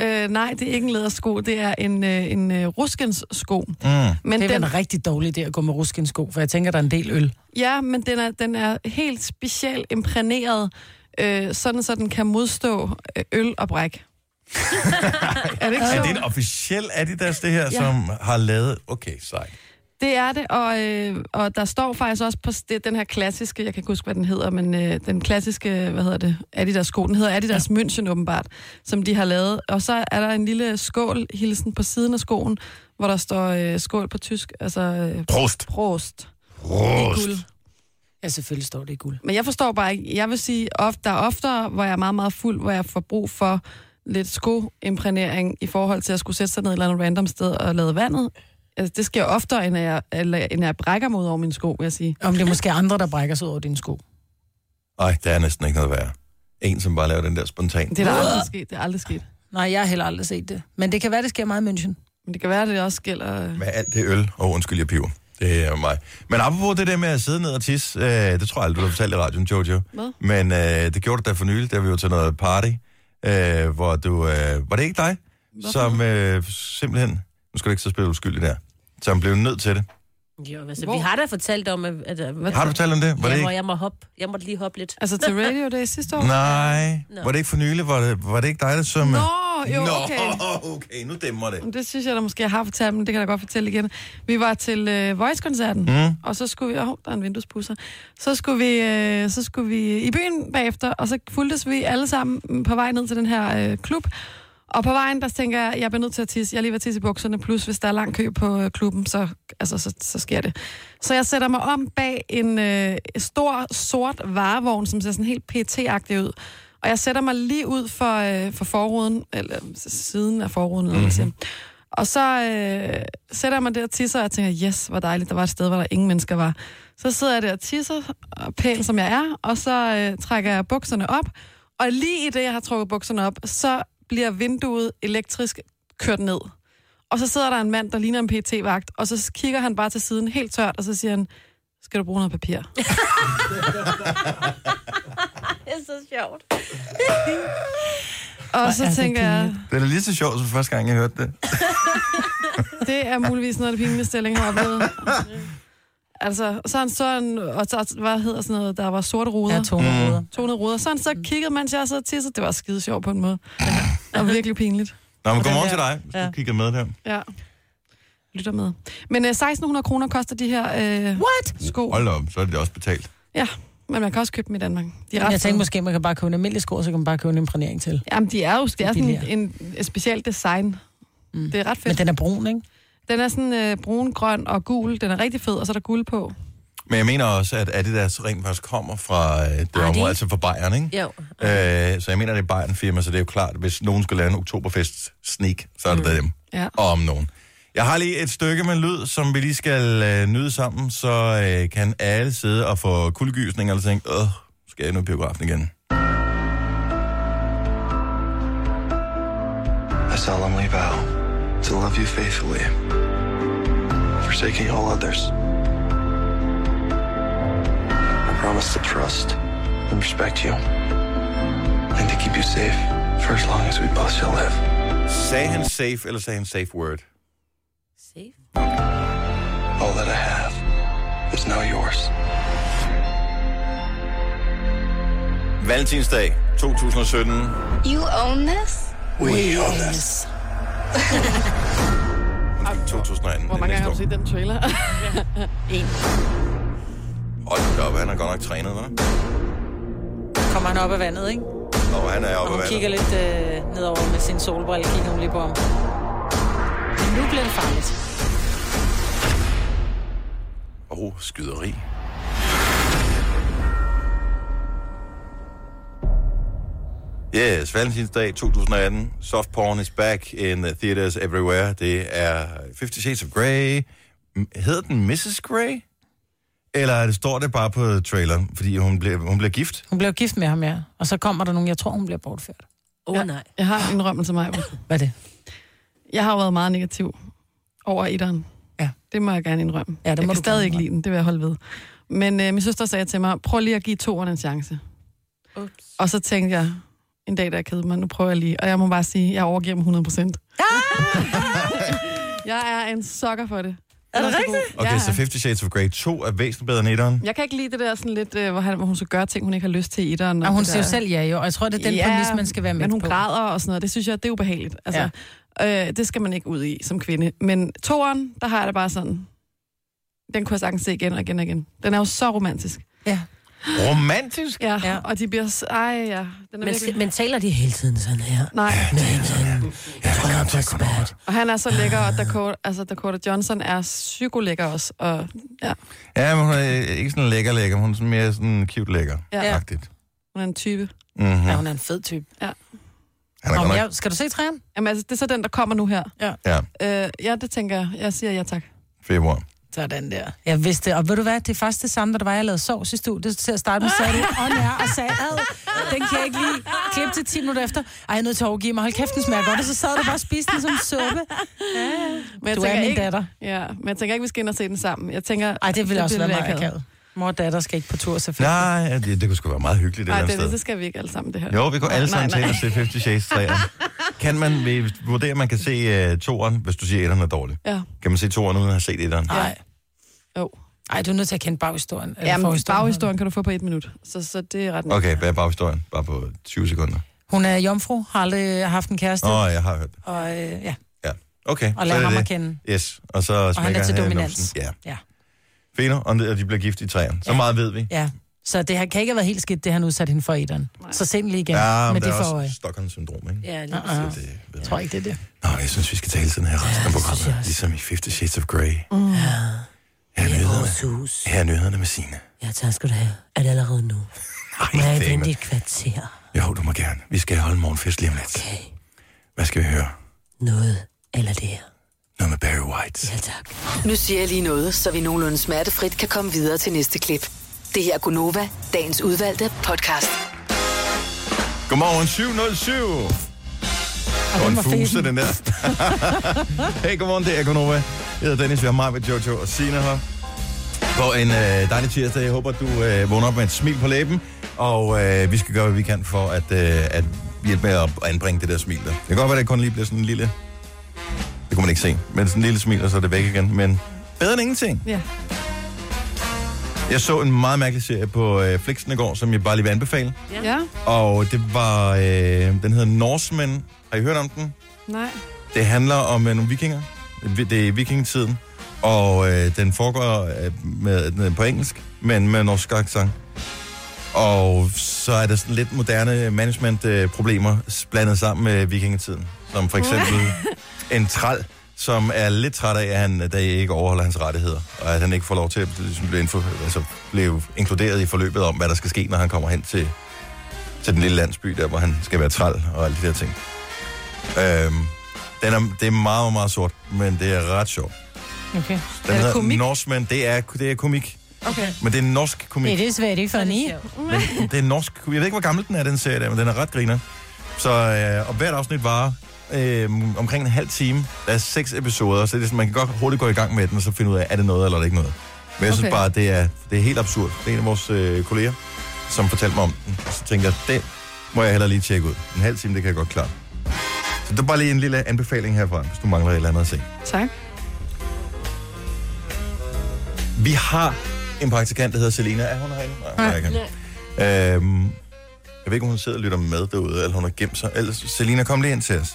S3: Øh, nej, det er ikke en lædersko, det er en, øh, en øh, ruskens sko. Mm. Men
S2: Det er
S3: den,
S2: vel en rigtig dårlig idé at gå med ruskinsko, for jeg tænker, der er en del øl.
S3: ja, men den er, den er helt specielt imprægneret, øh, sådan så den kan modstå øh, øl og bræk. er det ikke
S1: Er
S3: sjovt?
S1: det en officiel Adidas, det her, ja. som har lavet... Okay, sej.
S3: Det er det, og, øh, og der står faktisk også på s- det, den her klassiske, jeg kan ikke huske, hvad den hedder, men øh, den klassiske, hvad hedder det, Adidas-sko, den hedder Adidas ja. München åbenbart, som de har lavet. Og så er der en lille skål-hilsen på siden af skoen, hvor der står øh, skål på tysk, altså øh,
S1: Prost.
S3: prost.
S1: Prost.
S3: Guld.
S2: Ja, selvfølgelig står det i guld.
S3: Men jeg forstår bare ikke, jeg vil sige, ofte, der er oftere, hvor jeg er meget, meget fuld, hvor jeg får brug for lidt skoimprægnering i forhold til at skulle sætte sig ned et eller andet random sted og lade vandet. Altså, det sker oftere, end at jeg, eller, end at jeg brækker mod over min sko, vil jeg sige.
S2: Om det er måske andre, der brækker sig ud over dine sko.
S1: Ej, der er næsten ikke noget værre. En, som bare laver den der spontan.
S3: Det er der aldrig sket, det er aldrig sket.
S2: Nej, jeg har heller aldrig set det. Men det kan være, det sker meget i München.
S3: Men det kan være, at det også gælder... øh,
S1: Med alt det øl, og undskyld, jeg piver. Det er mig. Men apropos det der med at sidde ned og tisse, øh, det tror jeg aldrig, du har fortalt i radioen, Jojo.
S3: Hvad?
S1: Men øh, det gjorde du da for nylig, da vi var til noget party, øh, hvor du... Øh, var det ikke dig? Hvorfor? Som øh, simpelthen... Nu skal du ikke så spille uskyldig der. Som blev nødt til det.
S4: Jo, altså,
S3: Hvor?
S4: vi har da fortalt om, at... at, at
S1: Har du fortalt om det? Var det
S4: jeg,
S1: ikke?
S4: må, jeg, må hoppe. jeg måtte lige hoppe lidt.
S3: Altså til Radio Day sidste år?
S1: Nej.
S4: Nå.
S1: Var det ikke for nylig? Var det, var det ikke dig, der som...
S3: Nå, jo, okay.
S1: Nå, okay, nu dæmmer det.
S3: Det synes jeg da måske, jeg har fortalt, men det kan jeg da godt fortælle igen. Vi var til øh, Voice-koncerten, mm. og så skulle vi... Åh, oh, der er en vinduespusser. Så skulle, vi, øh, så skulle vi i byen bagefter, og så fuldtes vi alle sammen på vej ned til den her øh, klub. Og på vejen, der tænker jeg, jeg bliver nødt til at tisse. Jeg er lige ved at tisse i bukserne, plus hvis der er lang kø på øh, klubben, så, altså, så, så sker det. Så jeg sætter mig om bag en øh, stor, sort varevogn, som ser sådan helt PT-agtig ud. Og jeg sætter mig lige ud for, øh, for forruden, eller siden af forruden, eller mm-hmm. Og så øh, sætter jeg mig der og tisser, og jeg tænker, yes, hvor dejligt, der var et sted, hvor der ingen mennesker var. Så sidder jeg der og tisser, og pæn som jeg er, og så øh, trækker jeg bukserne op. Og lige i det, jeg har trukket bukserne op, så bliver vinduet elektrisk kørt ned. Og så sidder der en mand, der ligner en pt vagt og så kigger han bare til siden helt tørt, og så siger han, skal du bruge noget papir?
S4: Det er så sjovt.
S3: Og så
S2: er det
S3: tænker jeg,
S1: Det er da lige så sjovt som første gang, jeg hørte det.
S3: Det er muligvis noget af det pinligste, jeg længe har oplevet. altså, så han så en, og så, hvad hedder sådan noget, der var sorte ruder.
S2: Ja,
S3: Ja,
S2: toneruder. Mm.
S3: 200 ruder. Så han så kiggede, mens jeg sad og tissede. Det var skide sjovt på en måde. Det var virkelig pinligt.
S1: Nå, men
S2: Og den
S1: godmorgen
S2: der.
S1: til dig, hvis ja.
S2: Ja.
S1: du kigger med der.
S3: Ja. Lytter med. Men øh, 1600 kroner koster de her øh,
S2: What?
S3: sko.
S1: Hold da op, så er det også betalt.
S3: Ja, men man kan også købe dem i Danmark. De er ret
S2: Jeg
S3: fede.
S2: tænkte måske, man kan bare købe en almindelig sko, og så kan man bare købe en imprægnering til.
S3: Jamen, de er jo det er sådan
S2: billigere.
S3: en, en speciel design. Mm. Det er ret
S2: Men
S3: fedt. Den...
S2: den er brun, ikke?
S3: den er sådan øh, brun, grøn og gul. Den er rigtig fed, og så er der guld på.
S1: Men jeg mener også, at Adidas rent faktisk kommer fra øh, det
S4: de
S1: område,
S4: ikke?
S1: altså fra Bayern, ikke?
S4: Jo.
S1: Øh, så jeg mener, det er Bayern firma, så det er jo klart, hvis nogen skulle lave en oktoberfest sneak, så er det mm. dem.
S3: Ja.
S1: Og om nogen. Jeg har lige et stykke med lyd, som vi lige skal øh, nyde sammen, så øh, kan alle sidde og få kuldegysning og tænke, åh, skal jeg nu i biografen igen?
S8: I solemnly vow to love you faithfully, forsaking all others. I promise to trust and respect you, and to keep you safe for as long as we both shall live.
S1: Sagde han safe, eller sagde han safe word?
S4: Safe.
S8: All that I have is now yours.
S1: Valentinsdag 2017.
S9: You own this?
S8: We own this.
S1: 2018.
S3: Hvor mange gange har du set den trailer?
S1: Hold da op, han har godt nok trænet, hva'?
S2: Kommer han op af vandet, ikke?
S1: Og han er oppe
S2: Og
S1: af
S2: hun
S1: vandet.
S2: kigger lidt øh, nedover med sin solbrille, kigger hun lige på ham. Nu bliver det farligt.
S1: Og skyderi. Yes, Valentinsdag 2018. Soft porn is back in the theaters everywhere. Det er 50 Shades of Grey. M- Hedder den Mrs. Grey? Eller er det, står det bare på traileren, fordi hun bliver, hun bliver gift?
S2: Hun blev gift med ham, ja. Og så kommer der nogen, jeg tror, hun bliver bortført.
S4: Åh, oh, nej.
S3: Jeg har en indrømmelse, Maja.
S2: Hvad er det?
S3: Jeg har jo været meget negativ over etteren.
S2: Ja.
S3: Det må jeg gerne indrømme.
S2: Ja, det
S3: jeg
S2: må
S3: kan
S2: du
S3: stadig
S2: gerne
S3: ikke lide den, det vil jeg holde ved. Men øh, min søster sagde til mig, prøv lige at give toeren en chance.
S4: Ups.
S3: Og så tænkte jeg, en dag, der jeg kede mig, nu prøver jeg lige. Og jeg må bare sige, jeg overgiver mig 100 procent. jeg er en sokker for det. Er det rigtigt?
S1: Okay,
S3: ja.
S1: så 50 Shades of Grey 2 er væsentligt bedre end 1'eren.
S3: Jeg kan ikke lide det der sådan lidt, øh, hvor, han, hvor hun skal gøre ting, hun ikke har lyst til i etteren.
S2: Og hun
S3: det
S2: siger jo
S3: der-
S2: selv ja, jo. Og jeg tror, det er den ja, præmis, man skal være med
S3: men hun
S2: på.
S3: græder og sådan noget. Det synes jeg, det er ubehageligt. Altså, ja. øh, det skal man ikke ud i som kvinde. Men toeren, der har jeg det bare sådan... Den kunne jeg sagtens se igen og igen og igen. Den er jo så romantisk.
S2: Ja.
S1: Romantisk?
S3: Ja,
S2: Ja.
S3: ja. og de bliver... s- Ej, ja. Den er
S4: Men,
S3: virkelig...
S4: men taler de hele tiden sådan her?
S3: Nej,
S1: Ja, kom her, kom her.
S3: og han er så lækker, og Dakota, altså Dakota Johnson er psykolækker også. Og, ja,
S1: Ja, men hun er øh, ikke sådan lækker lækker, hun er sådan mere sådan cute lækker.
S3: Ja.
S1: Agtigt.
S3: hun er en type.
S1: Mm-hmm. Han
S2: ja,
S1: er
S2: hun er en fed type. Nå,
S1: godt
S2: men
S1: nok...
S2: jeg, skal du se træerne?
S3: Jamen, altså, det er så den, der kommer nu her.
S1: Ja,
S3: Øh, ja, det tænker jeg. Jeg siger ja tak.
S1: februar.
S2: Sådan der. Jeg vidste det. Og ved du hvad, det er faktisk det samme, da der var, jeg lavede sovs i studiet. Til at starte med sagde du, on air, og sagde, ad, den kan jeg ikke lige klippe til 10 minutter efter. Ej, jeg er nødt til at overgive mig. Hold kæft, den smager godt. Og så sad du bare og spiste den som suppe.
S3: Men jeg
S2: Du er
S3: tænker
S2: min
S3: ikke,
S2: datter.
S3: Ja, men jeg tænker ikke, vi skal ind og se den sammen. Jeg tænker,
S2: Ej, det ville også være
S3: bliver
S2: meget
S3: akavet.
S2: akavet. Mor og datter skal ikke på tur, selvfølgelig.
S1: Nej, ja, det, det kunne sgu være meget hyggeligt et
S3: Nej,
S1: eller
S3: det,
S1: andet
S3: det,
S1: sted.
S3: det skal vi ikke alle sammen, det her.
S1: Jo, vi går alle sammen
S3: Nej,
S1: til
S3: nej.
S1: at se 50 Shades 3. Kan man vi vurdere, at man kan se uh, toeren, hvis du siger, at etteren er dårlig?
S3: Ja,
S1: Kan man se toeren uden at have set etteren?
S2: Nej.
S3: jo.
S2: Ej, du er nødt til at kende baghistorien. Eller
S3: Jamen,
S2: forhistorien.
S3: baghistorien kan du få på et minut, så, så det er ret
S1: Okay, hvad er baghistorien? Bare på 20 sekunder.
S2: Hun er jomfru, har aldrig haft en kæreste,
S1: Åh,
S2: oh.
S1: jeg har hørt det.
S2: og, øh, ja,
S1: Ja. Okay,
S2: og
S1: så
S2: lader
S1: er
S2: ham at
S1: det.
S2: kende.
S1: Yes, og så
S2: Og han
S1: smækker
S2: er til
S1: i
S2: dominans.
S1: numsen. Ja.
S2: ja.
S1: Fener, og det- og de bliver gift i træerne. Så
S2: Ja.
S1: meget ved vi.
S2: ja. Så det har- kan ikke have været helt skidt, det han udsatte hende for i den. Så se den lige igen
S1: Ja,
S2: ja, med
S1: men
S2: det
S1: der er
S2: for øje.
S1: også Stockholm-syndrom, ikke?
S4: Ja, lige
S2: Uh-uh.
S4: præcis.
S1: Det ved
S2: Jeg
S1: jeg
S2: tror ikke, det er det.
S1: Nå, jeg synes, vi skal tale sådan her resten af
S4: jeg
S1: programmet.
S4: også. Mm.
S1: Ligesom i 50 Shades of Grey. Her er
S4: Ja,
S1: nyhederne.
S4: vores hus.
S1: Her er nyhederne med Signe.
S4: Ja, tak skal du have. Er det allerede nu? Må
S1: Ej,
S4: jeg
S1: det er
S4: vente
S1: med-
S4: et kvarter?
S1: Jo, du må gerne. Vi skal holde morgenfest lige om lidt.
S4: Okay.
S1: Hvad skal vi høre?
S4: Noget eller det her.
S1: Noget med Barry White.
S4: Ja, tak.
S7: Nu siger jeg lige noget, så vi nogenlunde smertefrit kan komme videre til næste klip. Det her er Gunova, dagens udvalgte podcast.
S1: Godmorgen, 707. Og
S2: den
S1: en
S2: var
S1: fuse,
S2: fesen.
S1: den der. hey, godmorgen, det er Gunova. Jeg hedder Dennis, vi har mig med Jojo og Sina her. På en øh, dejlig tirsdag. Jeg håber, at du øh, vågner op med et smil på læben. Og øh, vi skal gøre, hvad vi kan for at, øh, at hjælpe med at anbringe det der smil der. Det kan godt være, at det kun lige bliver sådan en lille... Det kunne man ikke se. Men sådan en lille smil, og så er det væk igen. Men bedre end ingenting.
S3: Ja.
S1: Jeg så en meget mærkelig serie på øh, Flixen i går, som jeg bare lige vil anbefale.
S3: Ja?
S1: Og det var... Øh, den hedder Norsemen. Har I hørt om den?
S3: Nej.
S1: Det handler om øh, nogle vikinger. Vi- Det er vikingetiden. Og øh, den foregår øh, med, med, på engelsk, men med norsk accent. Og så er der sådan lidt moderne management-problemer øh, blandet sammen med vikingetiden. Som for eksempel en træl, som er lidt træt af, at han der ikke overholder hans rettigheder. Og at han ikke får lov til at ligesom, blive, info, altså, blive inkluderet i forløbet om, hvad der skal ske, når han kommer hen til, til den lille landsby, der hvor han skal være træl og alle de der ting. Øhm, den er, det er meget, meget sort, men det er ret sjovt.
S2: Okay.
S1: Den
S3: Er det
S1: hedder
S3: komik?
S1: Norseman, det er, det er komik.
S3: Okay.
S1: Men det er norsk komik.
S2: Det er svært ikke for en i.
S1: Men det er en norsk. Jeg ved ikke, hvor gammel den er, den serie der, men den er ret griner. Så, øh, og hvert afsnit varer øh, omkring en halv time. Der er seks episoder, så det er, sådan, man kan godt hurtigt gå i gang med den, og så finde ud af, er det noget eller er det ikke noget. Men jeg synes
S3: Okay.
S1: bare, det er, det er helt absurd. Det er en af vores øh, kolleger, som fortalte mig om den. Og så tænkte jeg, det må jeg heller lige tjekke ud. En halv time, det kan jeg godt klare. Så det er bare lige en lille anbefaling herfra, hvis du mangler et eller andet at se.
S3: Tak.
S1: Vi har en praktikant, der hedder Selina. Er hun herinde? Nej, Nej. Nej. Øhm, jeg ved ikke, om hun sidder og lytter med derude, eller hun har gemt sig. Ellers, Selina, kom lige ind til os.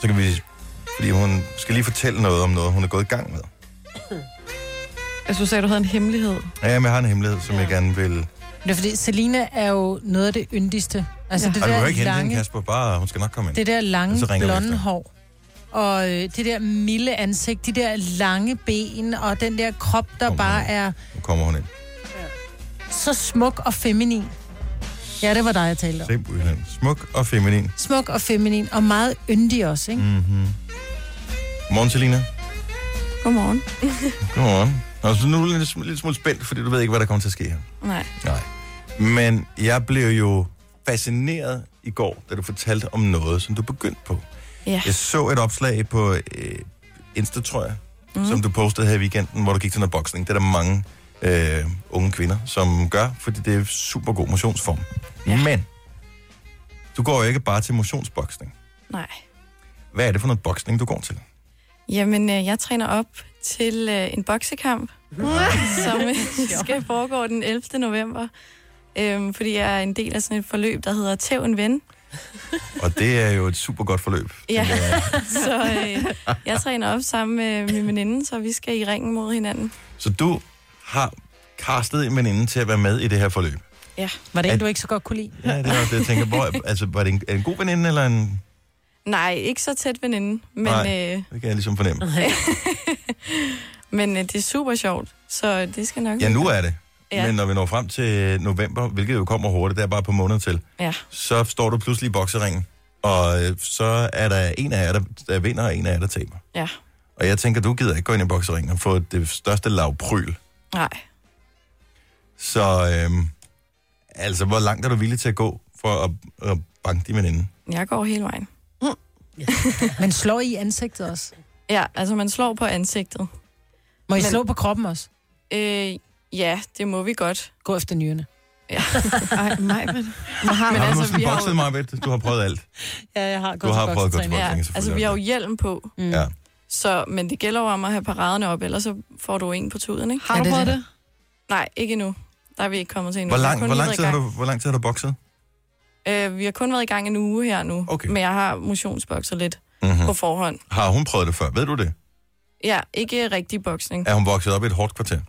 S1: Så kan vi... Fordi hun skal lige fortælle noget om noget, hun er gået i gang med.
S3: Altså, du sagde, du havde en hemmelighed.
S1: Ja, men jeg har en hemmelighed, som ja. jeg gerne vil...
S2: Det er fordi, Selina er jo noget af det yndigste. Altså
S3: Ja.
S2: det
S1: Og du
S2: der
S1: behøver ikke hente hende,
S2: lange,
S1: Kasper. Bare, hun skal nok komme ind.
S2: det der lange
S1: Så ringer vi
S2: blonde
S1: efter.
S2: hår. Og øh, det der milde ansigt, de der lange ben, og den der krop, der
S1: Kom
S2: bare
S1: nu.
S2: er
S1: Nu kommer hun ind.
S2: så smuk og feminin. Ja, det var dig, jeg talte om.
S1: Simpelthen. Smuk og feminin.
S2: Smuk og feminin, og meget yndig også, ikke? Mm.
S1: Morgen, Selina.
S3: Godmorgen.
S1: Godmorgen. Og så nu er jeg lidt, lidt smule spændt, fordi du ved ikke, hvad der kommer til at ske her.
S3: Nej.
S1: Nej. Men jeg blev jo fascineret i går, da du fortalte om noget, som du begyndte på.
S3: Ja.
S1: Jeg så et opslag på øh, Insta, tror jeg,
S3: Mhm.
S1: mm. som du postede her i weekenden, hvor du gik til noget boksning. Det er der mange øh, unge kvinder, som gør, fordi det er super god motionsform. Ja. Men du går jo ikke bare til motionsboksning.
S3: Nej.
S1: Hvad er det for noget boksning, du går til?
S3: Jamen, øh, jeg træner op til øh, en boksekamp, som øh, skal foregå den 11. november. Øhm, fordi jeg er en del af sådan et forløb, der hedder Tæv en ven.
S1: Og det er jo et super godt forløb.
S3: Ja.
S1: tænker jeg.
S3: Så øh, jeg træner op sammen med min veninde, så vi skal i ringen mod hinanden.
S1: Så du har castet en veninde til at være med i det her forløb.
S3: Ja.
S2: Var det
S1: At-
S2: en, du ikke så godt kunne lide?
S1: Ja, det er også det, jeg tænker. Hvor, altså, var det en, er det en god veninde, eller en...
S3: Nej, ikke så tæt veninde, men,
S1: Nej.
S3: øh,
S1: Det kan jeg ligesom fornemme.
S3: men øh, det er super sjovt, så det skal nok
S1: Ja, nu er det.
S3: Ja.
S1: Men når vi når frem til november, hvilket jo kommer hurtigt, der er bare på måneder til,
S3: Ja.
S1: så står du pludselig i bokseringen, og øh, så er der en af jer, der, der vinder, og en af jer, der taber.
S3: ja.
S1: Og jeg tænker, du gider ikke gå ind i bokseringen og få det største lavpryl.
S3: Nej.
S1: Så øhm, altså, hvor langt er du villig til at gå for at, at banke din veninde?
S3: Jeg går hele vejen.
S2: Men slår I i ansigtet også?
S3: Ja, altså man slår på ansigtet.
S2: Må I
S3: Men-
S2: slå på kroppen også?
S3: Øh, ja, det må vi godt.
S2: Gå efter nyrene.
S3: Ej, nej, men... Har,
S1: Men har du altså, nogensinde bokset mig, ved Du har prøvet alt.
S2: Ja, jeg har
S1: gået har til prøvet at gå til boksetræning.
S3: ja,
S1: Folketinget, selvfølgelig
S3: altså vi har jo hjelm på,
S1: Mm. Ja.
S3: så, men det gælder jo om at have paraderne op, ellers så får du en på tuden, ikke?
S2: Har du prøvet det?
S3: Nej, ikke endnu. Der er vi ikke kommet til endnu.
S1: Hvor,
S3: Vi er
S1: lang,
S3: kun
S1: hvor,
S3: lige
S1: lang
S3: været i
S1: tid har du,
S3: gang.
S1: hvor lang tid har du bokset?
S10: Øh, vi har kun været i gang en uge her nu,
S1: Okay.
S10: men jeg har motionsbokset lidt
S1: Mhm.
S10: på forhånd.
S1: Har hun prøvet det før? Ved du det?
S10: Ja, ikke rigtig boksning.
S1: Er hun vokset op i et hårdt kvarter?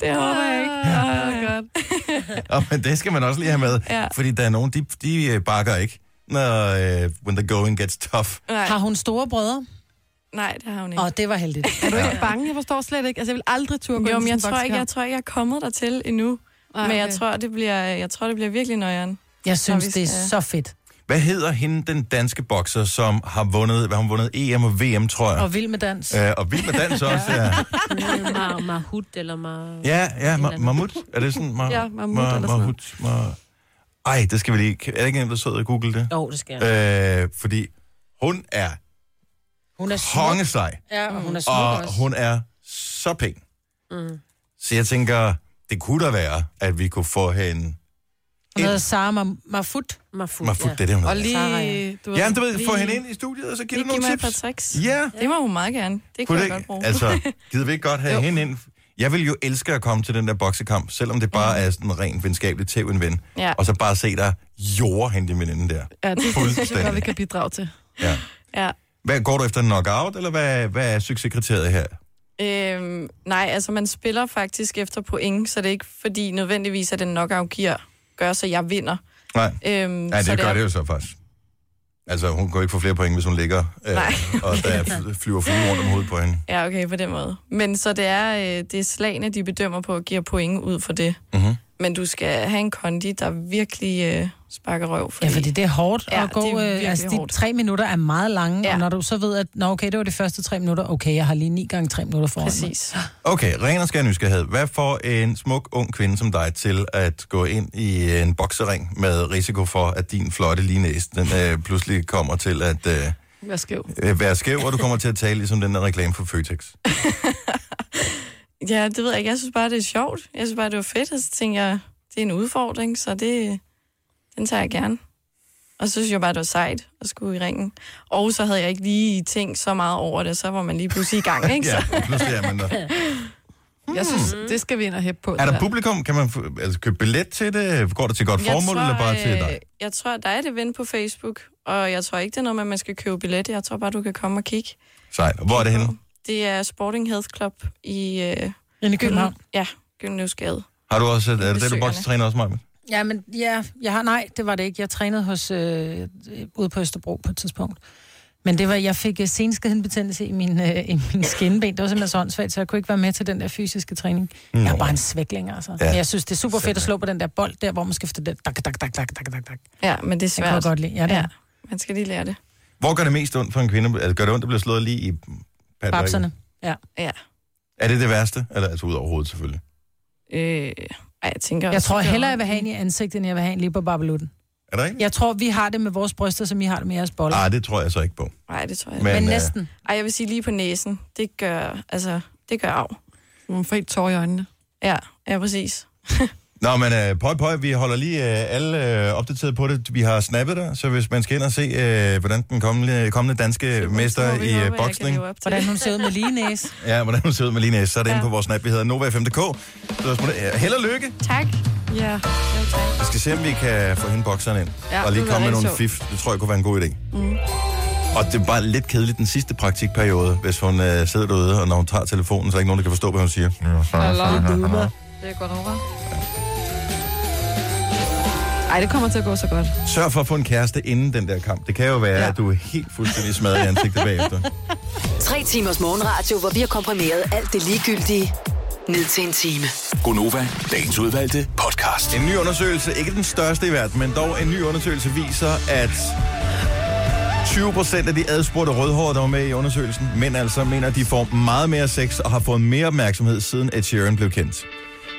S10: Det håber jeg ikke. Åh, godt.
S1: Og, men det skal man også lige have med,
S10: Ja.
S1: fordi der er nogen, de, de øh, bakker ikke, når uh, when the going gets tough.
S10: Nej.
S2: Har hun store brødre?
S10: Nej, det har hun ikke.
S2: Åh, det var heldigt.
S3: Er du ikke bange? Jeg forstår slet ikke. Altså, jeg vil aldrig turde gå
S10: Jo, men
S3: ind til
S10: jeg
S3: sådan en
S10: tror ikke, jeg
S3: bokskamp.
S10: tror ikke, jeg er kommet dertil endnu.
S3: Nej,
S10: Men jeg
S3: okay.
S10: tror, det bliver, jeg tror, det bliver virkelig nøjeren.
S2: Jeg synes,
S10: vi
S2: det er
S10: skal-
S2: så fedt.
S1: Hvad hedder hende, den danske bokser, som har vundet, hvad har hun vundet EM og VM, tror jeg?
S2: Og vild med dans.
S1: Øh, og vild med dans også, ja.
S11: Mar- Mahut eller Mar...
S1: Ja, ja, ma- Mahmoud. Er det sådan? Ma-
S11: Ja, Mahmoud eller sådan
S1: Mahmoud. Ma- Ej, det skal vi lige... kan- Er det ikke en, der sidder og google det?
S2: Jo, det skal
S1: jeg. Øh, fordi hun er
S2: Hun er smuk.
S1: kongesej.
S2: Ja, og hun er smuk
S1: og
S2: også.
S1: hun er så pæn.
S2: Mm.
S1: Så jeg tænker, det kunne da være, at vi kunne få hende...
S2: Hun hedder Sara Ma- Mafut. Mafut,
S1: Mafut, det er det, hun
S2: Og
S1: hedder.
S2: lige...
S1: Sarah,
S10: ja.
S2: Du
S1: ved, Jamen, du ved, få hende ind i studiet, og så giv
S10: det
S1: det nogle
S10: Giv mig et
S1: tips.
S10: par tricks.
S1: Ja.
S10: Det må hun meget gerne. Det kunne
S1: Kunne
S10: jeg
S1: det
S10: godt
S1: ikke-
S10: bruge.
S1: Altså, gider vi ikke godt have hende ind? Jeg vil jo elske at komme til den der boksekamp, selvom det bare er sådan en ren venskabelig tv en ven.
S3: Ja.
S1: Og så bare se dig jorde hende din veninde der.
S3: Ja, det er det, er godt, vi
S1: Fuldstændig.
S3: kan bidrage til.
S1: Ja.
S10: Ja.
S1: Hvad, går du efter en knockout, eller hvad, hvad er succeskriteriet her?
S10: Øhm, nej, altså man spiller faktisk efter point, så det er ikke fordi nødvendigvis, at den knockout gear gør, så jeg vinder.
S1: Nej,
S10: Øhm,
S1: Nej det,
S10: så
S1: det gør
S10: er-
S1: det jo så faktisk. Altså, hun kan ikke få flere point, hvis hun ligger, øh,
S10: Nej.
S1: og der er fly- flyver flue rundt om hovedet på hende.
S10: Ja, okay, på den måde. Men så det er, øh, det er slagene, de bedømmer på og giver point ud for det.
S1: Mm-hmm.
S10: Men du skal have en kondi, der virkelig øh, sparker røv.
S2: Ja, fordi det er hårdt
S10: Ja,
S2: ja, at gå...
S10: det er virkelig
S2: øh, altså, de
S10: hårdt.
S2: tre minutter er meget lange, ja. og når du så ved, at nå, okay, det var de første tre minutter, okay, jeg har lige ni gange tre minutter foran
S10: Præcis. Mig.
S1: Okay, ren og skær nysgerrighed. Hvad får en smuk, ung kvinde som dig til at gå ind i en boksering med risiko for, at din flotte lige næse, den øh, pludselig kommer til at øh,
S3: Vær skæv.
S1: øh, være skæv, og du kommer til at tale ligesom den der reklame for Føtex?
S10: Ja, det ved jeg ikke. Jeg synes bare, det er sjovt. Jeg synes bare, det var fedt, og så tænkte jeg, det er en udfordring, så det, den tager jeg gerne. Og så synes jeg bare, det var sejt at skulle i ringen. Og så havde jeg ikke lige tænkt så meget over det, så var man lige pludselig i gang, ikke?
S1: ja,
S10: Så. Mm.
S1: pludselig er man der.
S3: Jeg synes, det skal vi ind og hæppe på.
S1: Er
S3: det
S1: der publikum? Kan man få, altså, købe billet til det? Går det til godt
S10: Jeg
S1: formål,
S10: tror,
S1: eller bare til
S10: øh,
S1: dig?
S10: Jeg tror, der er et event på Facebook, og jeg tror ikke, det er noget med, at man skal købe billet. Jeg tror bare, du kan komme og kigge.
S1: Sejt. Hvor er det henne?
S10: Det er Sporting Health Club i... Øh,
S2: Inde i København.
S10: Gylden- Ja, Gyldenløvsgade.
S1: Har du også, er det det, du
S10: Besøgerne.
S1: boksetræner også, Maja?
S2: Ja, men ja, jeg har, nej, det var det ikke. Jeg trænede hos, øh, ude på Østerbro på et tidspunkt. Men det var, jeg fik øh, senskadebetændelse i min, øh, i min skinneben. Det var simpelthen så åndssvagt, så jeg kunne ikke være med til den der fysiske træning. Nå. Jeg er
S1: Nå.
S2: bare en svækling, altså.
S1: Ja.
S2: Ja. Men jeg synes, det er super fedt at slå på den der bold der, hvor man skal efter det. Dak, dak, dak, dak, dak, dak, dak.
S10: Ja, men det er
S2: Jeg
S10: svært.
S2: kan jeg godt lide. Ja, det ja.
S10: Man skal lige lære det.
S1: Hvor gør det mest ondt for en kvinde? Altså, gør det ondt at blive slået lige i padderikken?
S2: Babserne. Ja.
S10: Ja.
S1: Er det det værste? Eller altså ud over hovedet, selvfølgelig.
S10: Øh, ej, jeg tænker...
S2: Jeg
S10: også,
S2: tror
S10: det gør
S2: hellere,
S10: ondt.
S2: jeg vil have en i ansigtet, end jeg vil have en lige på babelutten.
S1: Er der ikke?
S2: Jeg tror, vi har det med vores bryster, som I har det med jeres boller.
S1: Nej, det tror jeg så ikke på.
S10: Nej, det tror jeg
S1: Men,
S10: ikke.
S1: Men øh, næsten.
S10: Ej, jeg vil sige lige på næsen. Det gør, altså, det gør af.
S3: Man får helt tår i øjnene.
S10: Ja, ja, præcis.
S1: Nå, men øh, pøj, pøj, vi holder lige øh, alle øh, opdateret på det. Vi har snappet dig, så hvis man skal ind og se, øh, hvordan den kommende, kommende danske mester i øh, boksning...
S2: Hvordan hun ser ud med lige næse.
S1: Ja, hvordan hun ser ud med lige næste, så er det ja. inde på vores snap. Vi hedder Nova5.dk. Så smu- øh, held og lykke.
S10: Tak. Ja. Jo, tak.
S1: Vi skal se, om vi kan få hende bokseren ind.
S10: Ja,
S1: og lige
S10: det vil
S1: komme med
S10: være
S1: nogle
S10: rigtig
S1: fif. Det tror jeg kunne være en god idé.
S10: Mm.
S1: Og det er bare lidt kedeligt den sidste praktikperiode, hvis hun øh, sidder derude, og når hun tager telefonen, så er ikke nogen, der kan forstå, hvad hun siger.
S3: Det er godt over. Ej, det kommer til at gå så godt.
S1: Sørg for at få en kæreste inden den der kamp. Det kan jo være, ja. at du er helt fuldstændig smadret i ansigtet bagefter.
S7: Tre timers morgenradio, hvor vi har komprimeret alt det ligegyldige ned til en time.
S6: Gonova, dagens udvalgte podcast.
S1: En ny undersøgelse, ikke den største i verden, men dog en ny undersøgelse viser, at 20 procent af de adspurgte rødhårede, der var med i undersøgelsen, men altså mener, at de får meget mere sex og har fået mere opmærksomhed, siden Ed Sheeran blev kendt.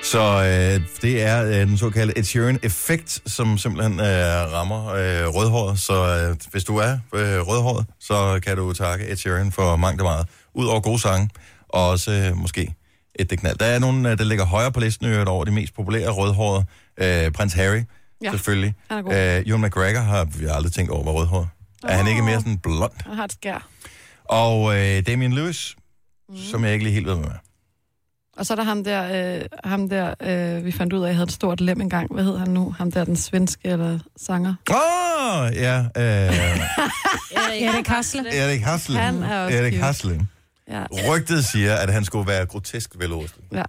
S1: Så øh, det er øh, den såkaldte Ed Sheeran-effekt, som simpelthen øh, rammer øh, rødhåret. Så øh, hvis du er øh, rødhåret, så kan du takke Ed Sheeran for mangt og meget. Udover gode sange, og også øh, måske et det knald. Der er nogen, øh, der ligger højere på listen i øvrigt over de mest populære rødhårede. Øh, Prins Harry, ja.
S3: Ja,
S1: selvfølgelig.
S3: han er god.
S1: Øh, Ewan McGregor har vi har aldrig tænkt over, var rødhåret. Er han ikke mere sådan blond?
S3: Han har et skær.
S1: Og øh, Damien Lewis, mm. som jeg ikke lige helt ved, hvad er.
S3: Og så er der ham der, øh, ham der øh, vi fandt ud af, at jeg havde et stort lem engang. Hvad hedder han nu? Ham der, den svenske eller sanger.
S1: Åh, oh, ja. Øh,
S2: Erik Hasle.
S1: Erik Haslen.
S3: Han er også
S1: Erik
S3: cute.
S1: Haslen.
S3: Ja.
S1: Rygtet siger, at han skulle være grotesk velrustet.
S3: Ja.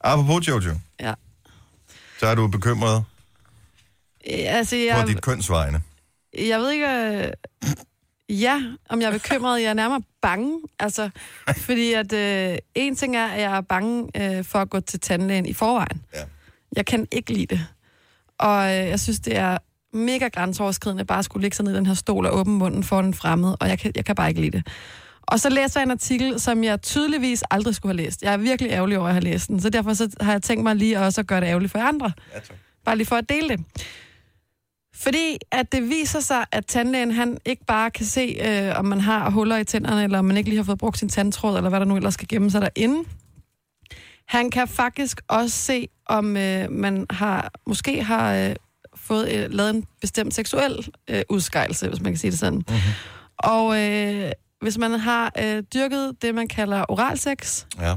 S1: Apropos Jojo,
S3: ja.
S1: så er du bekymret
S3: Øh, Altså,
S1: ja.
S3: jeg,
S1: på dit kønsvejne.
S3: jeg ved ikke... Øh, ja, om jeg er bekymret. Jeg er nærmere bange. Altså, fordi at øh, en ting er, at jeg er bange øh, for at gå til tandlægen i forvejen.
S1: Ja.
S3: Jeg kan ikke lide det. Og øh, jeg synes, det er mega grænseoverskridende bare at skulle ligge sig ned i den her stol og åbne munden for en fremmed, og jeg kan, jeg kan bare ikke lide det. Og så læser jeg en artikel, som jeg tydeligvis aldrig skulle have læst. Jeg er virkelig ærgerlig over at have læst den, så derfor så har jeg tænkt mig lige også at gøre det ærgerligt for jer andre.
S1: Ja, tak.
S3: Bare lige for at dele det. Fordi at det viser sig, at tandlægen han ikke bare kan se, øh, om man har huller i tænderne, eller om man ikke lige har fået brugt sin tandtråd, eller hvad der nu ellers skal gemme sig derinde. Han kan faktisk også se, om øh, man har måske har øh, fået øh, lavet en bestemt seksuel øh, udskejelse, hvis man kan sige det sådan. Mm-hmm. Og øh, hvis man har øh, dyrket det, man kalder oralsex,
S1: Ja. Hvis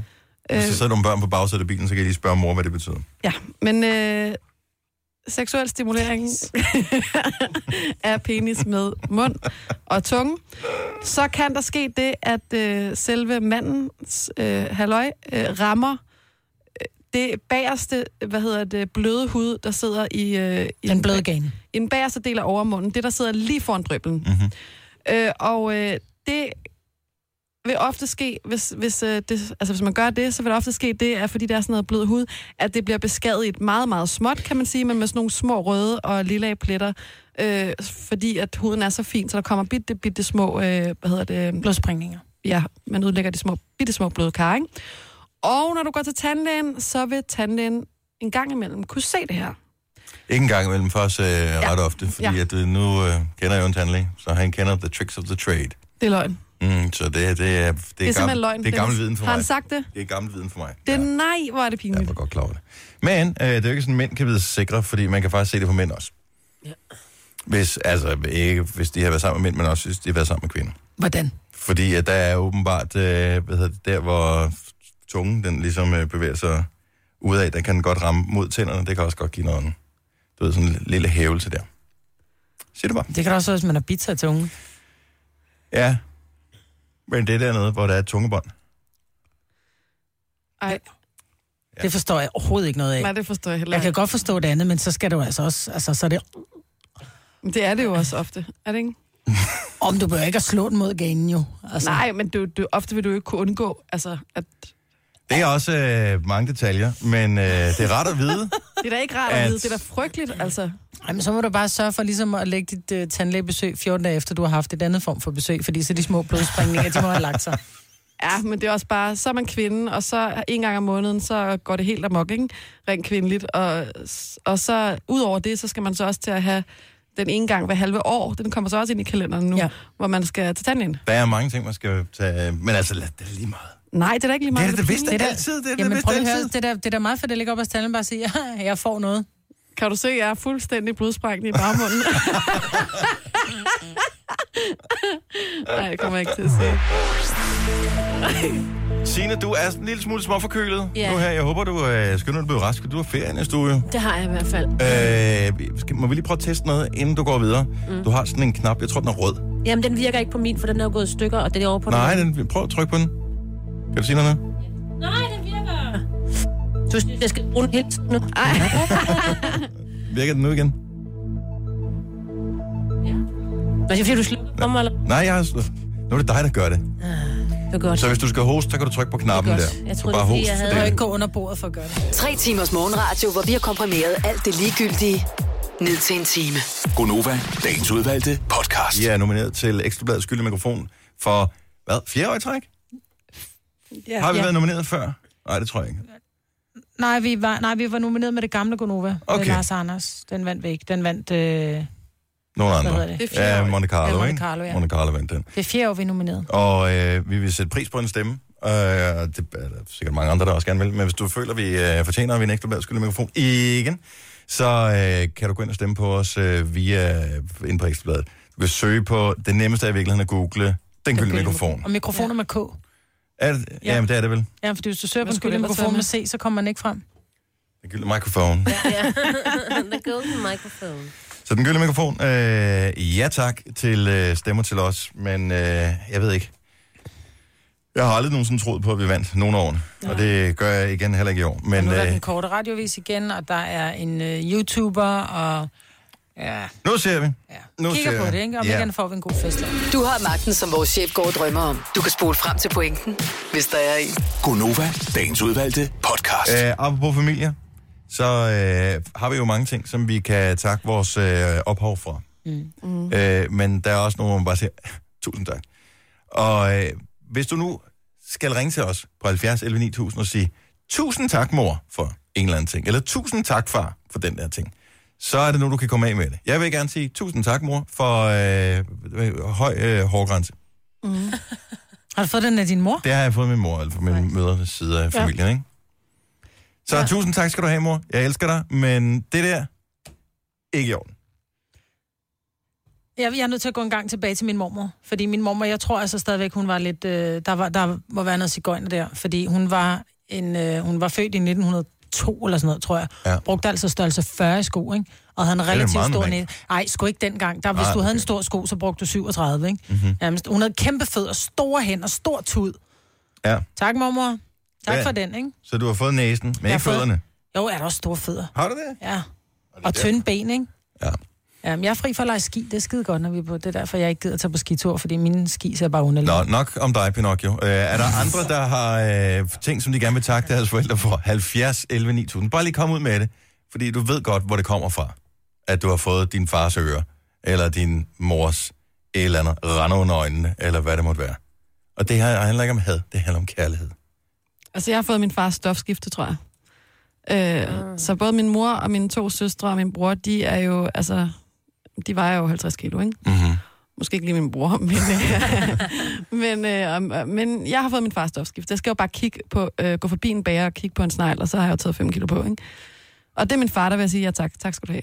S1: der
S3: Øh.
S1: sidder nogle børn på bagsædet af bilen, så kan jeg lige spørge mor, hvad det betyder.
S3: Ja, men øh, seksuel stimulering af penis med mund og tunge, så kan der ske det, at øh, selve mandens øh, halløj øh, rammer øh, det bagerste, hvad hedder det, bløde hud, der sidder i... Øh, i den bløde
S2: gane.
S3: I den bagerste del af overmunden, det der sidder lige foran drøblen.
S1: Mm-hmm.
S3: Øh, og øh, det vil ofte ske, hvis, hvis, øh, det, altså, hvis man gør det, så vil det ofte ske det, at fordi der er sådan noget blød hud, at det bliver beskadiget meget, meget småt, kan man sige, men med sådan nogle små røde og lilla pletter, øh, fordi at huden er så fin, så der kommer bitte, bitte små, øh, hvad hedder det?
S2: Blodspringninger.
S3: Ja, man udlægger de små, bitte små bløde kar, ikke? Og når du går til tandlægen, så vil tandlægen en gang imellem kunne se det her.
S1: Ikke engang imellem for os øh, ja. ret ofte, fordi ja.
S3: Ja.
S1: at, øh, nu øh, kender jeg jo en tandlæge, så han kender the tricks of the trade.
S3: Det er løgn.
S1: Mm, så det, det, er, det, er,
S3: Det er simpelthen løgn,
S1: Det er gammel
S3: Dennis.
S1: viden for mig.
S3: Har han sagt det?
S1: Det er gammel viden for mig.
S3: Det er nej, hvor er det pinligt.
S1: Jeg var godt klar over det. Men øh, det er jo ikke sådan, at mænd kan vide sig sikre, fordi man kan faktisk se det på mænd også. Ja. Hvis, altså, ikke hvis de har været sammen med mænd, men også hvis de har været sammen med kvinder.
S2: Hvordan?
S1: Fordi at der er åbenbart, øh, hvad hedder det, der hvor tungen den ligesom øh, bevæger sig udad, den kan den godt ramme mod tænderne, det kan også godt give noget, du ved, sådan en lille hævelse der. Sig det bare.
S2: Det kan der også være, hvis man har bidt sig til unge.
S1: Ja. Men det er dernede, hvor der er et tungebånd.
S3: Ej.
S2: Ja. Det forstår jeg overhovedet ikke noget af.
S3: Nej, det forstår jeg heller
S2: Jeg kan
S3: ikke.
S2: godt forstå det andet, men så skal du altså også... Altså, så er det,
S3: Men Det er det jo også ofte, er det ikke?
S2: om du bør ikke at slå den mod ganen jo. Altså.
S3: Nej, men du, du, ofte vil du jo ikke kunne undgå, altså, at
S1: Det er også øh, mange detaljer, men øh, det er rart at vide.
S3: det er da ikke rart at
S1: At-
S3: vide, det er da frygteligt, altså.
S2: Ej, men så må du bare sørge for ligesom at lægge dit øh, tandlægebesøg 14 dage efter, du har haft et andet form for besøg, fordi så de små blodspringninger, de må have lagt sig.
S3: Ja, men det er også bare, så er man kvinde, og så en gang om måneden, så går det helt amok, ikke? Rent kvindeligt. Og, og så, ud over det, så skal man så også til at have den ene gang hver halve år. Den kommer så også ind i kalenderen nu, ja. hvor man skal til tandlægen.
S1: Der er mange ting, man skal tage, men altså, lad det er lige meget.
S3: Nej, det er da ikke lige meget.
S1: Det er da det vidste
S2: da-
S1: altid, det er da
S2: Jamen,
S1: vidste
S2: prøv lige at høre,
S1: altid.
S2: det er da- det er da meget fedt at ligge op og stande og bare sige, ja, jeg får noget.
S3: Kan du se, jeg er fuldstændig blodsprængt i bagmunden? Nej, jeg kommer jeg ikke til at se.
S1: Signe, du er en lille smule småforkølet
S11: Ja.
S1: nu her. Jeg håber, du øh, skynder dig at blive rask. Du har ferie næste uge. jo.
S11: Det har jeg i hvert fald.
S1: Øh, skal, må vi lige prøve at teste noget, inden du går videre?
S11: Mm.
S1: Mm. Du har sådan en knap. Jeg tror, den er rød.
S11: Jamen, den virker ikke på min, for den er jo gået i stykker, og den er over på
S1: Nej,
S11: den.
S1: den, prøv at trykke på den. Kan du sige noget? nu?
S11: Nej, den virker. Du synes, jeg skal bruge den hele tiden nu. Ej.
S1: Virker den nu igen?
S11: Hvad siger du, slukker for mig, eller?
S1: Nej, jeg har... Nu er det dig, der gør det.
S11: Det er godt.
S1: Så hvis du skal hoste, så kan du trykke på knappen der.
S11: Jeg
S1: Så
S11: troede,
S1: bare
S11: det var,
S1: host.
S11: fordi jeg havde-
S1: Det-
S11: Jeg
S2: Ikke gå under bordet for at gøre det.
S7: Tre timers morgenradio, hvor vi har komprimeret alt det ligegyldige ned til en time.
S6: Gonova, dagens udvalgte podcast.
S1: I er nomineret til Ekstrabladets skyldte mikrofon for, hvad, fjerde år i træk? Ja, har vi ja. været nomineret før? Nej, det tror jeg ikke.
S2: Nej, vi var, nej, vi var nomineret med det gamle Gonova. Okay.
S1: Okay.
S2: Med Lars Anders. Den vandt vi ikke. Den vandt... Øh, det
S1: Nogle
S2: Hvad
S1: andre.
S2: hedder det? Det er fjerde
S1: ja,
S2: år.
S1: Monte Carlo,
S2: Ja, Monte
S1: ikke?
S2: Carlo, ja.
S1: Monte Carlo vandt den.
S2: er fjerde år, vi er nomineret.
S1: Og øh, vi vil sætte pris på en stemme. Øh, det er der sikkert mange andre, der også gerne vil. Men hvis du føler, vi øh, fortjener, at vi er en ekstra skyldig mikrofon igen, så øh, kan du gå ind og stemme på os øh, via ind på Ekstrabladet. Du kan søge på, det nemmeste er i virkeligheden at google den gyldne mikrofon.
S2: Og mikrofoner ja. med K.
S1: Er det, ja. Jamen, det er det vel.
S2: Ja, fordi hvis du søger på
S11: Hvad
S2: en
S11: skulle det
S2: gyldne
S11: ellers
S2: mikrofon
S11: være
S2: med C, så kommer man ikke frem.
S1: Den gyldne mikrofon.
S11: Ja. The golden microphone.
S1: Så den gyldne mikrofon. Øh, ja tak til øh, stemmer til os, men øh, jeg ved ikke. Jeg har aldrig nogensinde troet på, at vi vandt nogen af årene. Og det gør jeg igen heller ikke i år. Men
S2: Men, nu er der
S1: øh,
S2: den korte radiovis igen, og der er en øh, YouTuber, og... Ja.
S1: nu ser vi. Nu
S2: Kigger
S1: ser
S2: på
S1: vi.
S2: det, ikke? Om
S1: Ja.
S2: ja. igen får vi en god fest.
S7: Du har magten, som vores chef går og drømmer om. Du kan spole frem til pointen, hvis der er en.
S6: Gonova, dagens udvalgte podcast.
S1: Øh, apropos familie, så øh, har vi jo mange ting, som vi kan takke vores øh, ophav for. Mm. Øh, men der er også nogle, hvor man bare siger, tusind tak. Og øh, hvis du nu skal ringe til os på 70 11 9000 og sige, tusind tak mor for en eller anden ting, eller tusind tak far for den der ting, så er det nu, du kan komme af med det. Jeg vil gerne sige tusind tak mor for øh, øh, høj øh, hårgrænse.
S2: Mm. har du fået den af din mor?
S1: Det har jeg fået min mor, eller fra min mødres side af
S2: Ja.
S1: familien, ikke? Så ja. tusind tak skal du have, mor. Jeg elsker dig, men det der, ikke i orden.
S2: Jeg, jeg er nødt til at gå en gang tilbage til min mormor. Fordi min mormor, jeg tror altså stadigvæk, hun var lidt... Øh, der, var, der må være noget cigøjner der. Fordi hun var, en, øh, hun var født i 1902 eller sådan noget, tror jeg.
S1: Ja.
S2: Brugte altså størrelse 40 i sko, ikke? Og havde en
S11: Det er da
S2: relativt
S11: meget
S2: stor
S11: normalt.
S2: næse. Ej, sgu ikke dengang. Der, hvis
S11: Nej,
S2: du havde en stor sko, så brugte du 37, ikke?
S1: Mhm.
S2: Nærmest. Hun havde kæmpe fødder, store hænder, stor tud.
S1: Ja.
S2: Tak, mormor. Tak
S1: Ja.
S2: for den, ikke?
S1: Så du har fået næsen, men
S2: Jeg
S1: ikke
S2: har fået-
S1: fødderne.
S2: Jo, er der også store fødder.
S1: Har du det?
S2: Ja. Og tynde ben, ikke? Ja. Jamen, Øhm, jeg er fri for at lege ski. Det er skide godt, når vi er på. Det er derfor, jeg ikke gider tage på skitur, fordi mine ski ser bare underlige.
S1: Nå, nok om dig, Pinocchio. Øh, er der andre, der har øh, ting, som de gerne vil takke deres forældre for? 70, 11, 9000. Bare lige kom ud med det, fordi du ved godt, hvor det kommer fra. At du har fået din fars øre, eller din mors et eller andet rende under øjnene, eller hvad det måtte være. Og det her handler ikke om had, det handler om kærlighed.
S3: Altså, jeg har fået min fars stofskifte, tror jeg. Øh, Så både min mor og mine to søstre og min bror, de er jo, altså, de vejer jo 50 kilo, ikke?
S1: Mm-hmm.
S3: Måske ikke lige min bror, men, øh, men, øh, og- men jeg har fået min fars stofskifte. Jeg skal jo bare kigge på, øh, gå forbi en bager og kigge på en snegl, og så har jeg jo taget 5 kilo på, ikke? Og det er min far, der vil jeg sige, ja tak, tak skal du have.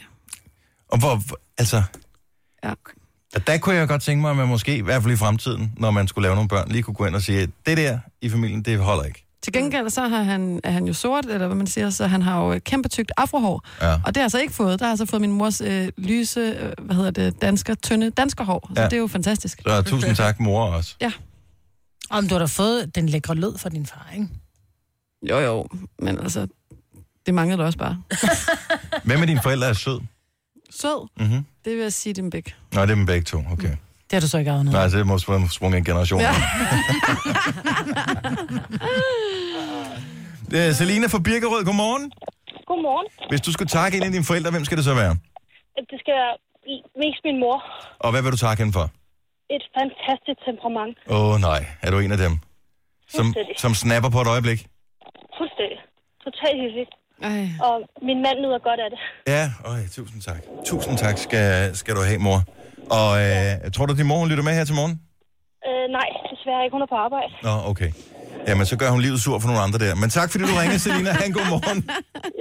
S1: Og hvor, hvor- altså...
S3: Ja.
S1: Og der kunne jeg godt tænke mig, at man måske, i hvert fald i fremtiden, når man skulle lave nogle børn, lige kunne gå ind og sige, at det der i familien, det holder ikke.
S3: Til gengæld så har han, er han jo sort, eller hvad man siger, så han har jo øh, kæmpe tykt afrohår.
S1: Ja.
S3: Og det har jeg så ikke fået. Der har jeg så fået min mors øh, lyse, øh, hvad hedder det, dansker, tynde danskerhår. Så
S1: Ja.
S3: ja. det er jo fantastisk.
S1: Så tusind tak, mor også.
S3: Ja.
S2: Om du har da fået den lækre lød fra din far, ikke?
S3: Jo, jo, men altså, det manglede da også bare.
S1: Hvem af dine forældre er sød?
S3: Sød,
S1: Mm-hmm.
S3: det vil jeg sige, din bæk.
S1: Nå, det er dem begge to, okay.
S2: Det har du så ikke arvet noget.
S1: Nej, så det må sp- sprunge en generation. Ja. Øh, Selina fra Birkerød, godmorgen.
S12: Godmorgen.
S1: Hvis du skulle takke en af dine forældre, hvem skal det så være?
S12: Det skal være mest min mor.
S1: Og hvad vil du takke hende for?
S12: Et fantastisk temperament.
S1: Åh oh, nej, er du en af dem, som,
S12: Fuldstændig.
S1: som snapper på et øjeblik?
S12: Fuldstændig. Totalt hyggeligt. Og min mand nyder godt af det.
S1: Ja, øj, tusind tak. Tusind tak skal, skal du have, mor. Og øh, tror du, din mor hun lytter med her til morgen?
S12: Øh, nej, desværre ikke. Hun er på arbejde.
S1: Nå, okay. Jamen, så gør hun livet sur for nogle andre der. Men tak, fordi du ringede, Selina. Ha' en god morgen.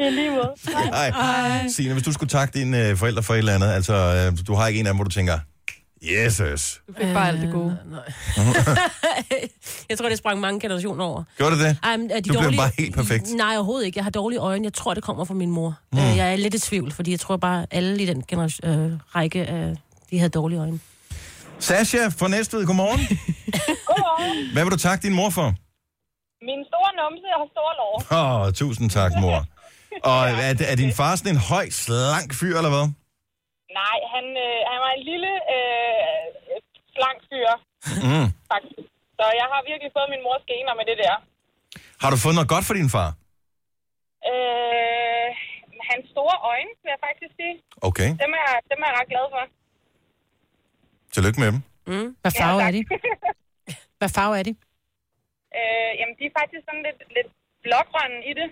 S12: I lige måde.
S1: Hej. Signe, hvis du skulle takke dine øh, forældre for et eller andet, altså, øh, du har ikke en af dem, hvor du tænker, Jesus.
S3: Du fik bare alt det gode.
S11: Nej. jeg tror, det sprang mange generationer over.
S1: Gjorde det det?
S11: Ej, men er de
S1: du blev
S11: dårlige-
S1: bare helt perfekt.
S11: Nej, overhovedet ikke. Jeg har dårlige øjne. Jeg tror, det kommer fra min mor.
S1: Mm.
S11: Mm. Jeg er lidt i tvivl, fordi jeg tror bare, alle i den generation, øh, række, øh, de havde dårlige øjne.
S1: Sasha fra Næstved, godmorgen.
S13: Godmorgen.
S1: Hvad vil du takke din mor for?
S13: Min store numse og store lår.
S1: Åh, oh, tusind tak, mor. Og er, er din far sådan en høj, slank fyr, eller hvad?
S13: Nej, han, øh, han var en lille, øh, slank fyr,
S1: Mm.
S13: faktisk. Så jeg har virkelig fået min mors gener med det der.
S1: Har du fået noget godt for din far?
S13: Øh, hans store øjne, vil jeg faktisk sige.
S1: Okay,
S13: Dem er, dem er jeg ret glad for.
S1: tillykke med dem.
S11: Mm.
S2: Hvad farve
S13: Ja,
S2: er de? Hvad farve er de?
S13: øh, jamen, de er faktisk sådan lidt, lidt blågrønne i det.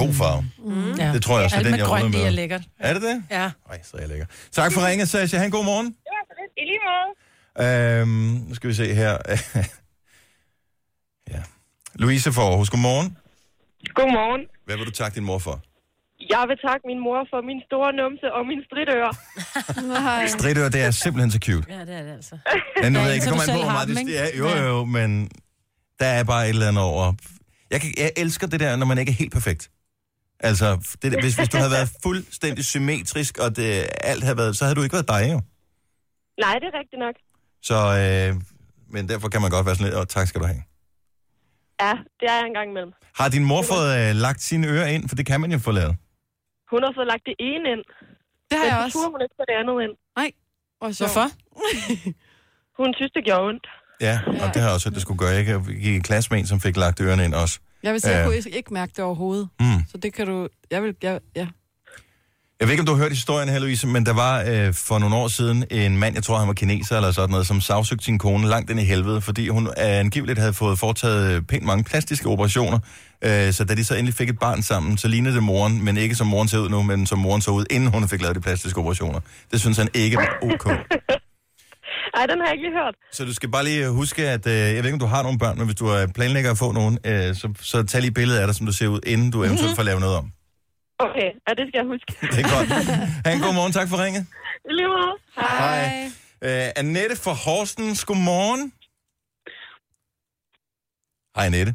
S1: God farve.
S2: Mm.
S1: Det tror jeg også er
S2: Alt
S1: den,
S2: med
S1: jeg
S2: grønt
S1: ruller
S2: i
S1: med.
S2: er lækkert.
S1: Er det det?
S2: Ja.
S1: Nej, så er jeg lækker. Tak for ringet, Sasha. Ha' en god morgen.
S13: Det var så lidt. I lige måde.
S1: Øhm, nu skal vi se her. ja. Louise fra Aarhus, godmorgen.
S13: Godmorgen.
S1: Hvad vil du takke din mor for?
S13: Jeg vil takke min mor for min store numse og min stridører.
S3: Øh,
S13: Nej.
S1: Stridør, det er simpelthen så cute.
S11: Ja, det er det altså.
S1: Ja, nu ved jeg ikke,
S11: så du
S1: det kommer an
S11: selv
S1: på, hvor
S11: har
S1: meget
S11: dem,
S1: det
S11: ikke?
S1: stiger. Jo, jo, men Der er bare et eller andet over. Jeg, kan, jeg elsker det der, når man ikke er helt perfekt. Altså, det, der- hvis, hvis du havde været fuldstændig symmetrisk, og det, alt havde været, så havde du ikke været dig jo.
S13: Nej, det er rigtigt nok.
S1: Så, øh, men derfor kan man godt være sådan lidt, og tak skal du have.
S13: Ja, det er jeg engang imellem.
S1: Har din mor fået øh, lagt sine ører ind? For det kan man jo få lavet.
S13: Hun har fået lagt det ene ind.
S3: Det har
S13: men
S3: jeg
S13: så
S3: også.
S13: turde hun ikke få det andet ind.
S3: Nej, Hvorfor?
S13: hun synes, det gjorde ondt.
S1: Ja, og det har jeg også hørt, det skulle gøre. Jeg gik i klasse med en, som fik lagt ørerne ind også.
S3: Jeg vil sige, jeg
S1: Øh,
S3: kunne ikke- ikke mærke det overhovedet.
S1: Mm.
S3: Så det kan du... Jeg vil... Jeg, ja.
S1: Jeg ved ikke, om du har hørt historien her, Louise, men der var øh, for nogle år siden en mand, jeg tror han var kineser eller sådan noget, som sagsøgte sin kone langt ind i helvede, fordi hun øh, angiveligt havde fået foretaget øh, pænt mange plastiske operationer. Øh, så da de så endelig fik et barn sammen, så lignede det moren, men ikke som moren ser ud nu, men som moren så ud, inden hun fik lavet de plastiske operationer. Det synes han ikke var ok.
S13: Ej, den har jeg ikke lige hørt.
S1: Så du skal bare lige huske, at øh, jeg ved ikke, om du har nogle børn, men hvis du øh, planlægger at få nogen, øh, så, så tag lige billedet af dig, som du ser ud, inden du eventuelt får lavet noget om.
S13: Okay, ja, det skal jeg huske.
S1: Det er godt. Ha' en god morgen. Tak for ringet.
S13: I lige måde.
S1: Hej. Øh, Annette fra Horsens, godmorgen. Hej Annette.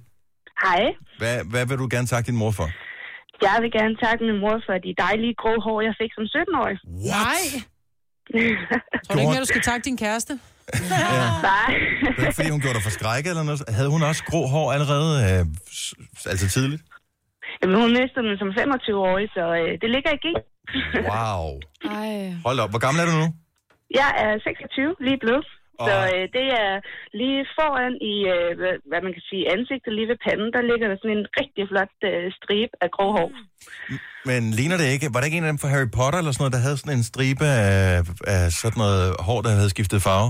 S14: Hej.
S1: Hvad, hvad vil du gerne takke din mor for?
S14: Jeg vil gerne takke min mor for de dejlige grå hår, jeg fik som 17-årig.
S2: Nej. Tror du ikke mere, du skal takke din kæreste?
S14: Nej.
S1: Det er ikke, fordi hun gjorde dig for skrækket eller noget. Havde hun også grå hår allerede, øh, s- altså tidligt?
S14: Jamen, hun mistede den som 25-årig, så øh, det ligger i gen.
S1: Wow.
S3: Ej.
S1: Hold op, hvor gammel er du nu?
S14: Jeg er 26, lige blevet. Så
S1: Og-
S14: øh, det er lige foran i, øh, hvad- hvad man kan sige, ansigtet, lige ved panden, der ligger der sådan en rigtig flot øh, stribe af grå hår.
S1: Men ligner det ikke? Var der ikke en af dem fra Harry Potter eller sådan noget, der havde sådan en stribe af, af sådan noget hår, der havde skiftet farve?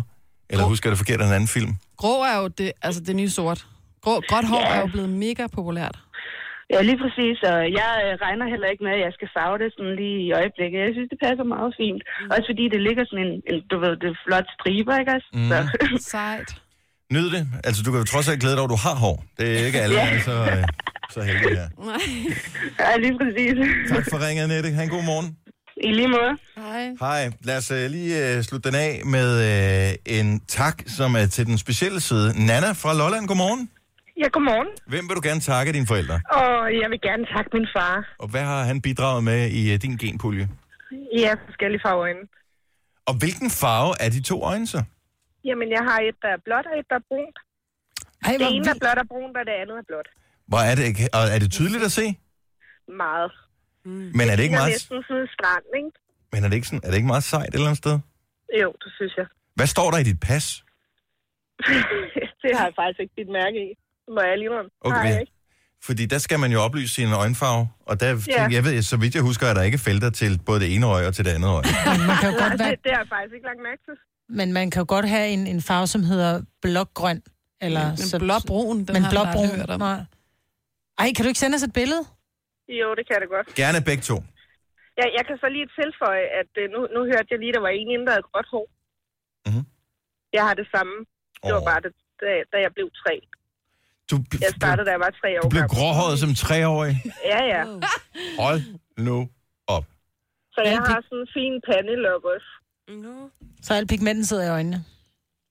S1: Eller husker jeg det forkert af en anden film?
S3: Grå er jo det, altså det nye sort. Grå, gråt hår
S14: Ja.
S3: er jo blevet mega populært.
S14: Ja, lige præcis, og jeg øh, regner heller ikke med, at jeg skal farve det sådan lige i øjeblikket. Jeg synes, det passer meget fint.
S15: Mm.
S14: Også fordi det ligger sådan en, en du ved, det er flot striber, ikke også?
S1: Mm.
S14: Så.
S3: Sejt.
S1: Nyd det. Altså, du kan jo trods alt glæde dig over, at du har hår. Det er ikke alle, der er så, øh, så heldige her.
S14: Ja, lige præcis.
S1: Tak for ringet, Annette. Ha' en god morgen.
S14: I lige måde.
S3: Hej.
S1: Hej. Lad os øh, lige øh, slutte den af med øh, en tak, som er til den specielle side. Nana fra Lolland, godmorgen.
S15: Ja, godmorgen.
S1: Hvem vil du gerne takke af dine forældre?
S15: Og jeg vil gerne takke min far.
S1: Og hvad har han bidraget med i øh, din genpulje?
S15: Ja, forskellige farver inde.
S1: Og hvilken farve er de to øjne så?
S15: Jamen, jeg har et, der er blåt, og et, der er brunt.
S2: Ej,
S15: det ene er blåt og brunt, og det andet er blåt.
S1: Hvor er det, og er det tydeligt at se?
S15: Meget.
S1: Men er det ikke
S15: ligner
S1: meget,
S15: næsten sådan en strand, ikke?
S1: men er det ikke, sådan, er det ikke meget sejt et eller andet sted?
S15: Jo, det synes jeg.
S1: Hvad står der i dit pas?
S15: det har jeg faktisk ikke bidt mærke i. Det må jeg lige om.
S1: Okay,
S15: Nej,
S1: vi-
S15: ikke?
S1: Fordi der skal man jo oplyse sin øjenfarve, og der,
S15: Ja.
S1: ja. jeg ved, så vidt jeg husker, er der ikke felter til både det ene øje og til det andet øje.
S2: Man kan jo godt
S15: Nej,
S2: være,
S15: Altså, det, det har jeg faktisk ikke lagt mærke til.
S2: men man kan jo godt have en, en farve, som hedder blågrøn. Eller
S15: Men
S2: så,
S3: blåbrun, den
S2: men
S3: har jeg aldrig
S2: blåbrun,
S3: hørt om.
S2: nej. Ej, kan du ikke sende os et billede?
S15: Jo, det kan det godt.
S1: Gerne begge to.
S15: Ja, jeg kan så lige tilføje, at øh, nu, nu hørte jeg lige, der var en inden, der havde gråt hår. Mm-hmm.
S1: Mhm.
S15: Jeg har det samme. Det var bare det, da, da jeg blev tre.
S1: Du,
S15: Jeg startede, da jeg var tre år
S1: Du blev
S15: gammel.
S1: gråhåret som treårig.
S15: Ja, ja.
S1: Hold nu op.
S15: Så jeg har sådan en fin pandelok også.
S2: Så alt pigmenten sidder i øjnene.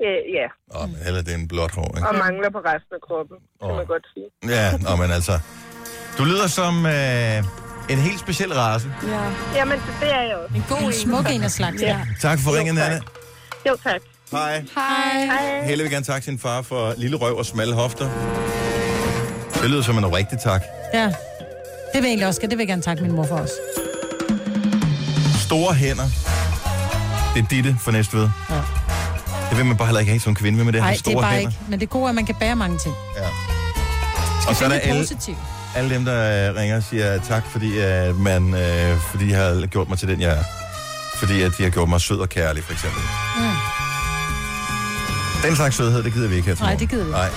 S15: Øh, ja,
S1: Åh, oh, men heller det er en blåt hår, ikke?
S15: og mangler på resten af kroppen, kan
S1: Åh.
S15: man godt sige.
S1: Ja, nå, men altså. Du lyder som øh, en helt speciel race.
S15: Ja. Jamen, det, det er jeg også. En
S2: god En en. smuk en af slagsen.
S15: Ja.
S1: Tak for ringen, Anna.
S15: Jo, tak.
S1: Hej.
S15: Hej.
S1: Helle vil gerne takke sin far for lille røv og smalle hofter. Det lyder som en rigtig tak.
S2: Ja. Det vil jeg egentlig også. Det vil jeg gerne takke min mor for os.
S1: Store hænder. Det er ditte for næste ved.
S2: Ja.
S1: Det vil man bare heller ikke have som kvinde med, med det her
S2: Nej, det er
S1: store
S2: bare
S1: hænder.
S2: ikke. Men det gode er, at man kan bære mange ting.
S1: Ja.
S2: Skal
S1: Og så er der
S2: finde det
S1: alle,
S2: positivt.
S1: alle dem, der øh, ringer og siger tak, fordi, øh, man, øh, fordi I har gjort mig til den, jeg er. Fordi at de har gjort mig sød og kærlig, for eksempel.
S2: Mm.
S1: Den slags sødhed, det gider vi ikke her til
S6: Nej,
S1: morgen.
S6: det gider vi
S1: Nej.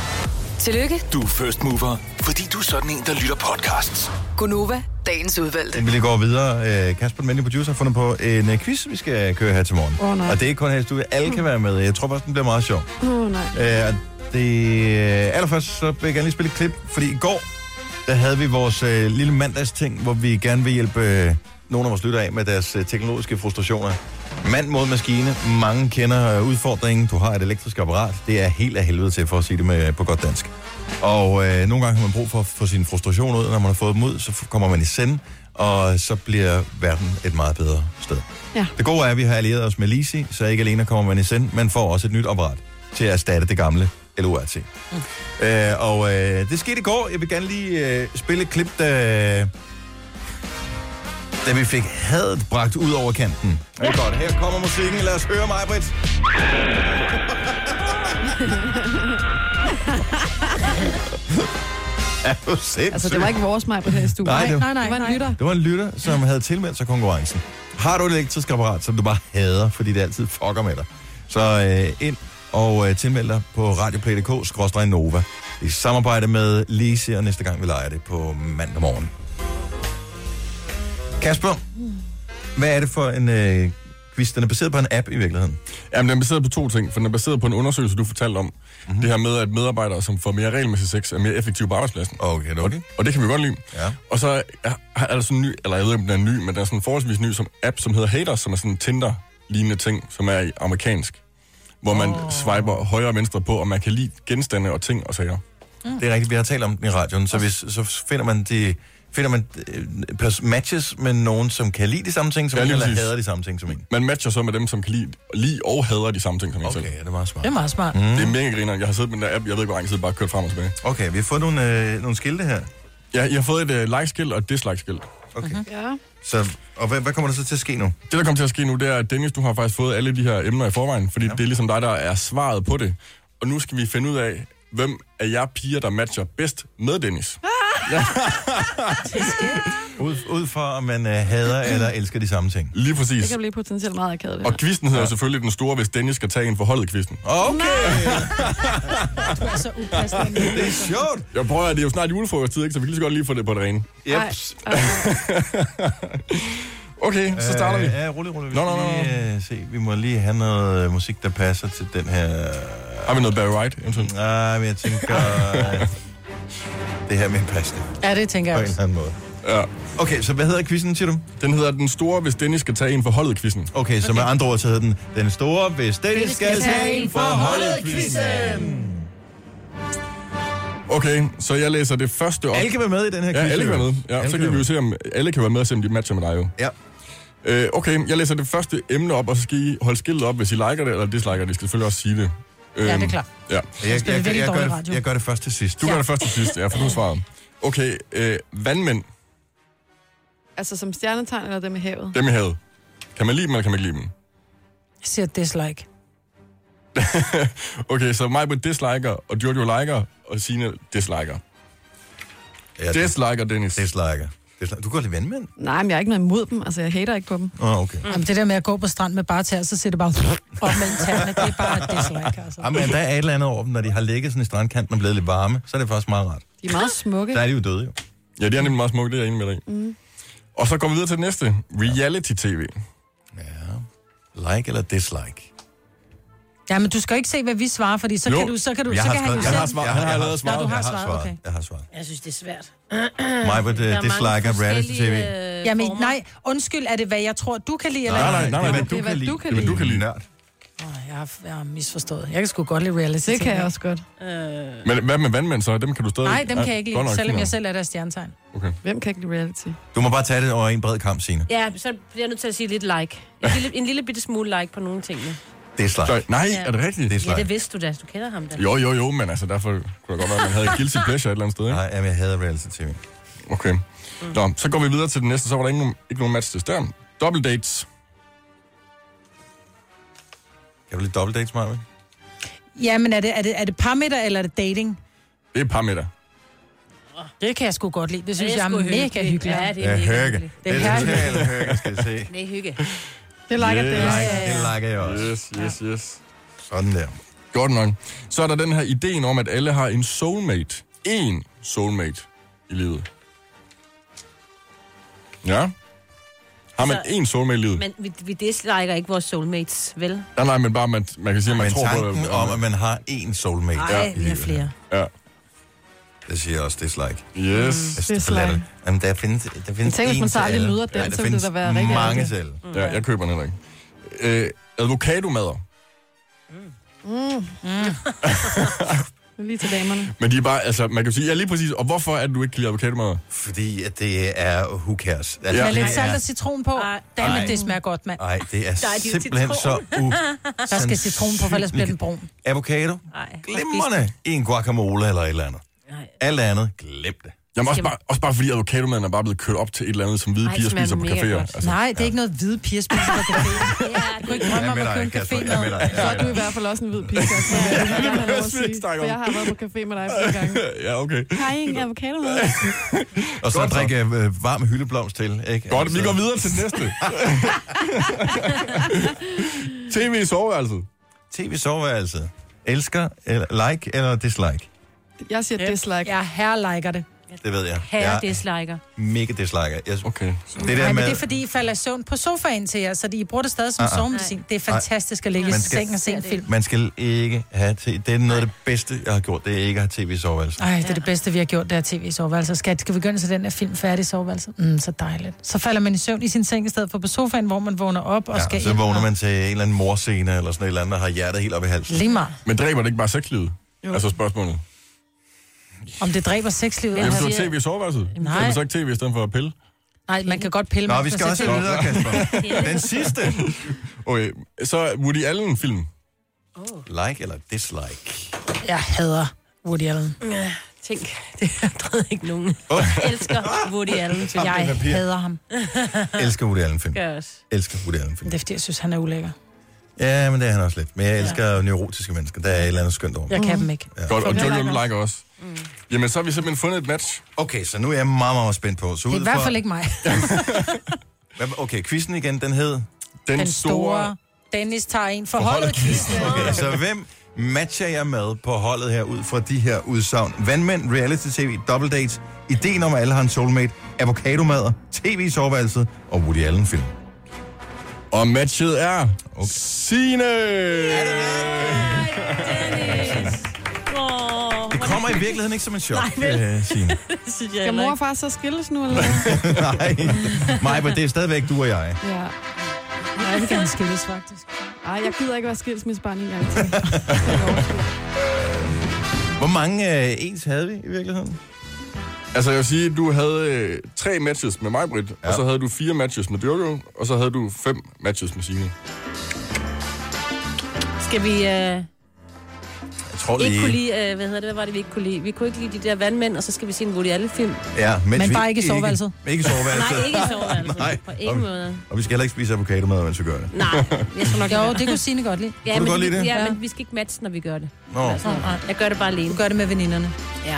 S7: Tillykke,
S6: Du er first mover, fordi du er sådan en, der lytter podcasts.
S7: Gunova, dagens udvalgte.
S1: Inden vi lige går videre, øh, Kasper, den venlige producer, har fundet på en øh, quiz, vi skal køre her til morgen.
S3: Åh, nej.
S1: og det er ikke kun her i studiet. Alle kan være med. Jeg tror faktisk, den bliver meget sjov.
S3: Åh, oh, nej.
S1: Øh, og det, øh, allerførst så vil jeg gerne lige spille et klip, fordi i går, der havde vi vores øh, lille mandagsting, hvor vi gerne vil hjælpe øh, nogle af vores lyttere af med deres øh, teknologiske frustrationer. Mand mod maskine. Mange kender øh, udfordringen. Du har et elektrisk apparat. Det er helt af helvede til, for at sige det med, på godt dansk. Og øh, nogle gange har man brug for at få sin frustration ud, og når man har fået dem ud, så f- kommer man i send, og så bliver verden et meget bedre sted.
S3: Ja.
S1: Det gode er, at vi har allieret os med Lisi, så ikke alene kommer man i send, man får også et nyt apparat til at erstatte det gamle LORT. Mm. Øh, og øh, det skete i går. Jeg vil gerne lige øh, spille et klip, da, da vi fik hadet bragt ud over kanten. Ja. Det er godt. Her kommer musikken. Lad os høre mig, Britt. Er du sindssyg?
S3: Altså, det var ikke vores mig på her i studiet.
S1: Nej, det-
S3: nej, nej, Det var en lytter.
S1: Det var en lytter, som havde tilmeldt sig konkurrencen. Har du et elektrisk apparat, som du bare hader, fordi det altid fucker med dig, så øh, ind og øh, tilmeld dig på radioplay.dk-nova i samarbejde med Lise, og næste gang vi leger det på mandag morgen. Kasper, hvad er det for en øh, quiz? Den er baseret på en app i virkeligheden.
S5: Jamen, den er baseret på to ting, for den er baseret på en undersøgelse, du fortalte om. Mm-hmm. Det her med, at medarbejdere, som får mere regelmæssig sex, er mere effektive på arbejdspladsen.
S1: Okay, det
S5: og, og det kan vi godt lide.
S1: Ja.
S5: Og så er, er der sådan en ny, eller jeg ved ikke, om den er ny, men der er sådan en forholdsvis ny som app, som hedder Haters, som er sådan en Tinder-lignende ting, som er i amerikansk. Hvor man oh. swiper højre og venstre på, og man kan lide genstande og ting og sager.
S1: Mm. Det er rigtigt, vi har talt om den i radioen, så, hvis, så finder man de finder man øh, pers- matches med nogen, som kan lide de samme ting, som
S5: Ja,
S1: ja, en,
S5: lige
S1: eller
S5: præcis.
S1: hader de samme ting som en.
S5: Man matcher så med dem, som kan lide, lide og hader de samme ting som en okay, selv.
S1: Okay, det er meget smart.
S2: Det er meget smart.
S5: Mm. Det er mega grineren. Jeg har siddet med den der app, jeg ved ikke, hvor lang tid, bare kørt frem og tilbage.
S1: Okay, vi har fået nogle, øh, nogle skilte her.
S5: Ja, jeg har fået et uh, like-skilt og et dislike-skilt.
S1: Okay. Mm-hmm.
S3: Ja.
S1: Så, og hvad, hvad kommer der så til at ske nu?
S5: Det, der kommer til at ske nu, det er, at Dennis, du har faktisk fået alle de her emner i forvejen, fordi ja. det er ligesom dig, der er svaret på det. Og nu skal vi finde ud af, hvem af jer piger, der matcher bedst med Dennis. ja.
S1: Ud, ud fra, om man øh, hader eller elsker de samme ting.
S5: Lige
S3: Det
S5: præcis.
S3: kan blive potentielt meget akavet. det
S5: Og
S3: her.
S5: kvisten hedder ja. selvfølgelig den store, hvis Dennis skal tage en forholdet kvisten.
S1: Okay.
S2: Du er så upassende.
S1: Det er sjovt.
S5: Jeg prøver, det er jo snart julefrokosttid, ikke? så vi kan lige så godt lige få det på det rene. Okay, så starter vi.
S1: Øh, ja, rolig, rolig. Vi
S5: Nå,
S1: skal
S5: nå, nå, nå.
S1: lige øh, se. Vi må lige have noget øh, musik, der passer til den her...
S5: Har vi noget Barry White? Eventuelt?
S1: Nej, men jeg tænker... øh, det her med en passende.
S2: Ja, det tænker
S1: På
S2: jeg
S1: en eller
S2: også.
S1: anden måde.
S5: Ja.
S1: Okay, så hvad hedder quizzen, siger du?
S5: Den hedder Den Store, hvis Dennis skal tage en forholdet quizzen.
S1: Okay, så med andre ord, så hedder den Den Store, hvis Dennis skal tage en forholdet quizzen.
S5: Okay, så jeg læser det første op.
S1: Alle kan være med i den her
S5: Ja,
S1: quiz,
S5: alle kan være
S1: jo.
S5: med. Ja,
S1: Alle
S5: så
S1: kan være
S5: kan vi
S1: med.
S5: jo se, om alle kan være med, og se, om de matcher med dig jo.
S1: Ja.
S5: Øh, okay, jeg læser det første emne op, og så skal I holde skiltet op, hvis I liker det eller disliker det. I skal selvfølgelig også sige det.
S2: Ja,
S5: Øhm,
S2: det er klart.
S5: Ja.
S1: Jeg, jeg, jeg, jeg, gør det, jeg gør det først til sidst.
S5: Du gør det først til sidst, ja, for nu er svaret. Okay, øh, vandmænd,
S3: Altså som stjernetegn eller dem i havet.
S5: dem i havet. Kan man lide dem, eller kan man ikke lide dem?
S2: Jeg siger dislike.
S5: Okay, så mig på disliker, og Jojo liker, og Signe disliker.
S1: Ja,
S5: disliker, Dennis.
S1: Disliker. disliker. Du går lidt vandmænd.
S3: Nej, men jeg er ikke noget imod dem. Altså, jeg hater ikke på dem.
S1: Åh, oh, okay.
S2: Mm. Jamen, det der med at gå på strand med bare tæer, så ser det bare op mellem tæerne. Det er bare et dislike, altså.
S1: Ja, men der er et eller andet over dem, når de har ligget sådan i strandkanten og blevet lidt varme, så er det faktisk meget rart.
S3: De er meget smukke.
S1: Der er de jo døde, jo.
S5: Ja, det er nemlig meget smukt, det er jeg enig med dig i.
S3: Mm.
S5: Og så går vi videre til det næste. Reality-tv.
S1: Like eller dislike?
S2: Ja, men du skal jo ikke se, hvad vi svarer, fordi så
S5: Jo,
S2: kan du... Så kan du
S1: jeg
S2: så
S1: har
S2: kan han
S1: skrevet-
S2: jo
S1: jeg
S2: selv-
S1: har svaret.
S2: Nå,
S1: Han har allerede svaret.
S2: Du har
S1: Jeg har
S2: svaret,
S1: svaret.
S2: okay.
S1: Jeg har svaret.
S11: Jeg synes, det er svært.
S1: Mig på det disliker reality-tv.
S2: Jamen, nej, undskyld, er det, øh, hvad jeg tror, du kan lide? Eller?
S1: Nej, nej, nej, nej,
S2: Det er,
S1: nej, du kan lide.
S2: du kan
S1: Det er,
S2: lide.
S1: du kan lide. Nørd.
S2: Åh, Jeg har, jeg har misforstået. Jeg kan sgu godt lide reality.
S3: Det kan jeg også
S2: godt.
S5: Men hvad med vandmænd så? Dem kan du stadig...
S2: Nej, dem kan jeg ikke
S5: godt
S2: lide,
S5: nok,
S2: selvom
S5: nå.
S2: jeg selv er der stjernetegn.
S5: Okay.
S3: Hvem kan ikke lide reality?
S1: Du må bare tage det over en bred kamp, Signe.
S11: Ja, så bliver jeg nødt til at sige lidt like. En lille, en lille bitte smule like på nogle ting. Ja.
S1: Dislike.
S5: Så, nej,
S11: Ja.
S5: er det rigtigt?
S11: ja, det vidste du da. Du kender ham da.
S5: Jo, jo, jo, men altså derfor kunne det godt være, at man havde et guilty pleasure et eller andet sted, ikke?
S1: Nej, jamen, jeg hader reality-tv.
S5: Okay. Nå, så går vi videre til den næste, så var der ikke nogen, ikke nogen match til der. Double dates.
S1: Kan du lide double dates, Marvin?
S2: Ja, men er det, er det, er det parmeter, eller er det dating?
S5: Det er par middag.
S2: Det kan jeg sgu godt lide. Det synes
S11: Det
S2: jeg
S11: er
S2: er
S11: sgu
S2: mega
S11: hyggeligt.
S2: hyggeligt.
S11: Ja, det
S1: Det er hygge.
S2: Det er
S1: Det er
S2: hygge.
S1: totalt hygge, skal jeg se.
S11: Det er hygge.
S3: Det liker
S5: Yes.
S3: det.
S1: Det liker jeg også.
S5: Yes, yes, yes.
S1: Sådan der.
S5: Godt nok. Så er der den her ideen om, at alle har en soulmate. En soulmate i livet. Ja. Har man
S11: Så-
S5: én soulmate i livet?
S11: Men vi, vi disliker ikke vores soulmates, vel?
S5: Nej, nej, men bare, man, man kan sige, at man
S1: Men
S5: tror på...
S1: tanken om, at man har én soulmate.
S11: Nej,
S1: Ja.
S11: vi har flere.
S5: Ja.
S1: Det siger jeg også dislike.
S5: Yes.
S1: Altså, det er for latterligt. Jamen, der findes, der findes
S3: tænker, hvis
S1: én
S3: man så
S1: til
S3: aldrig
S1: alle.
S3: møder den,
S1: Ja, der
S3: så ville
S1: findes
S3: det da være rigtig
S1: mange
S3: ærgerligt.
S1: selv.
S5: Ja,
S2: Mm.
S5: jeg køber den heller ikke. Øh, advokadomadder.
S3: Mm. Mm. Lige til damerne.
S5: Men de er bare, altså, man kan sige, ja lige præcis, og hvorfor er det, du ikke kan lide avocado
S1: Fordi at det er who cares. Altså,
S2: Ja. altså, Med lidt
S1: det
S2: salt
S1: er-
S2: og citron på.
S1: Ej.
S2: Dammit, det smager godt, mand.
S1: Ej, det er
S2: Der er de jo
S1: simpelthen så u...
S2: Der skal citron på, for ellers bliver den brun.
S1: Avocado?
S2: Nej.
S1: Glimrende i en guacamole eller et eller andet. Nej. Alt andet, glem det.
S5: Jamen også bare, også bare fordi avocadomaden er bare blevet kørt op til et eller andet, som hvide
S2: Ej,
S5: piger
S2: smager
S5: spiser på
S2: mega
S5: caféer. Altså.
S2: godt. Nej, det er ikke noget hvide piger spiser på caféer. Ja, du kan ikke drømme om
S5: Jeg er
S2: at købe
S5: med
S2: en
S5: dig,
S2: café
S5: Kasper. Jeg er med dig.
S3: Så er du i hvert fald også en hvid pige, Kasper. Det vil jeg have lov at sige,
S5: snakke
S3: for
S5: om.
S3: jeg har været på café med dig flere gange.
S5: ja, okay.
S3: Har I ingen avocado med?
S1: Og så drikke øh, varm hyldeblomst til, ikke? Altså,
S5: Godt, vi går videre til den næste. TV i soveværelset.
S1: TV-soveværelset. Elsker, eller like eller dislike?
S3: Jeg siger dislike.
S2: Jeg herliker det.
S1: Det ved jeg.
S2: Herre
S1: jeg
S2: ja. disliker.
S1: er mega disliker. Jeg,
S5: okay.
S1: Det der
S2: Nej,
S1: med...
S2: men det er fordi, I falder i søvn på sofaen til jer, så I bruger det stadig som
S1: Ah, ah.
S2: sovemedicin. Det er
S1: Nej.
S2: fantastisk at ligge i
S1: Man skal-
S2: sengen og se en film.
S1: Man skal ikke have tv. Det er noget af det bedste, jeg har gjort. Det er ikke at have tv i soveværelset.
S2: Ej, det er det bedste, vi har gjort, der tv i soveværelset. Skat, skal vi begynde så den her film færdig i soveværelset? Mm, så dejligt. Så falder man i søvn i sin seng i stedet for på sofaen, hvor man vågner op og
S1: Ja,
S2: skal
S1: og så
S2: ind
S1: vågner
S2: og-
S1: man til en eller anden morscene, eller sådan et eller andet, der har hjertet helt op i halsen.
S2: Lige meget.
S5: Men dræber det ikke bare sexlivet?
S2: Jo.
S5: Altså spørgsmålet.
S2: Om det dræber sexlivet?
S5: Jamen,
S2: altså.
S5: du har tv i soveværelset?
S2: Nej.
S5: Kan du så ikke tv i stedet for at pille?
S2: Nej, man kan godt pille
S5: Nå,
S2: med
S5: vi
S2: sig
S5: skal også
S2: selv.
S5: videre, Kasper. Den sidste. Okay, så Woody Allen-film.
S1: Like eller dislike?
S2: Jeg hader Woody Allen.
S4: Ja, tænk, det har ikke nogen. Jeg elsker Woody Allen.
S2: Så jeg
S1: papir.
S2: hader ham.
S1: Elsker Woody Allen-film.
S2: Gør jeg også.
S1: Elsker Woody Allen-film.
S2: Det er fordi, jeg synes, han er ulækker.
S1: Ja, men det er han også lidt. Men jeg elsker ja. neurotiske mennesker. Der er et eller andet skønt over.
S2: Jeg
S4: Mm.
S2: kan dem ikke.
S1: Ja.
S5: Godt, og Jojo Like også.
S2: Mm.
S5: Jamen, så har vi simpelthen fundet et match.
S1: Okay, så nu er jeg meget, meget spændt på. Så
S2: Det
S1: ud
S2: er i hvert
S1: fra-
S2: fald ikke mig.
S1: Hvad- Okay, quizzen igen, den hed?
S5: Den,
S2: Dennis tager en for holdet kvisten.
S1: Okay, så hvem matcher jeg med på holdet her ud fra de her udsagn? Vandmænd, reality tv, double dates, ideen om at alle har en soulmate, avocadomader, tv i soveværelset og Woody Allen-film.
S5: Og matchet er... Okay. Signe!
S4: Åh,
S1: Det kommer i virkeligheden ikke som en chok,
S3: Nej, vel?
S1: øh, Signe.
S4: det synes
S3: Skal mor og far så skilles nu, eller hvad?
S1: Nej, Maja, men det er stadigvæk du og jeg.
S3: Ja.
S2: Jeg vil gerne skilles, faktisk.
S3: Ej, jeg gider ikke være skilsmissebarn en gang til.
S1: Hvor mange øh, ens havde vi i virkeligheden?
S5: Altså, jeg vil sige, du havde øh, tre matches med mig, Britt, ja. og så havde du fire matches med Dyrko, og så havde du fem matches med Signe.
S4: Skal vi øh,
S1: Jeg tror
S4: ikke kunne
S1: lige...
S4: lide, øh, hvad hedder det, hvad var det, vi ikke kunne lide? Vi kunne ikke lide de der vandmænd, og så skal vi se en Woody Allen-film.
S1: Ja, mens
S4: Men
S1: vi
S4: bare ikke i soveværelset.
S1: Ikke, ikke i soveværelset.
S4: Nej, ikke i soveværelset.
S1: Nej.
S4: På ingen måde.
S1: Og vi skal heller ikke spise avocadomad, mens vi gør det.
S4: Nej, jeg tror nok
S2: Jo,
S4: ikke,
S2: det kunne Signe godt lide.
S4: Ja,
S1: Kunne du
S4: men
S1: godt
S4: vi-
S1: lide det?
S4: Ja, men vi skal ikke matche, når vi gør det. Altså,
S1: Nå.
S4: Jeg gør det bare alene.
S2: Du gør det med veninderne.
S4: Ja.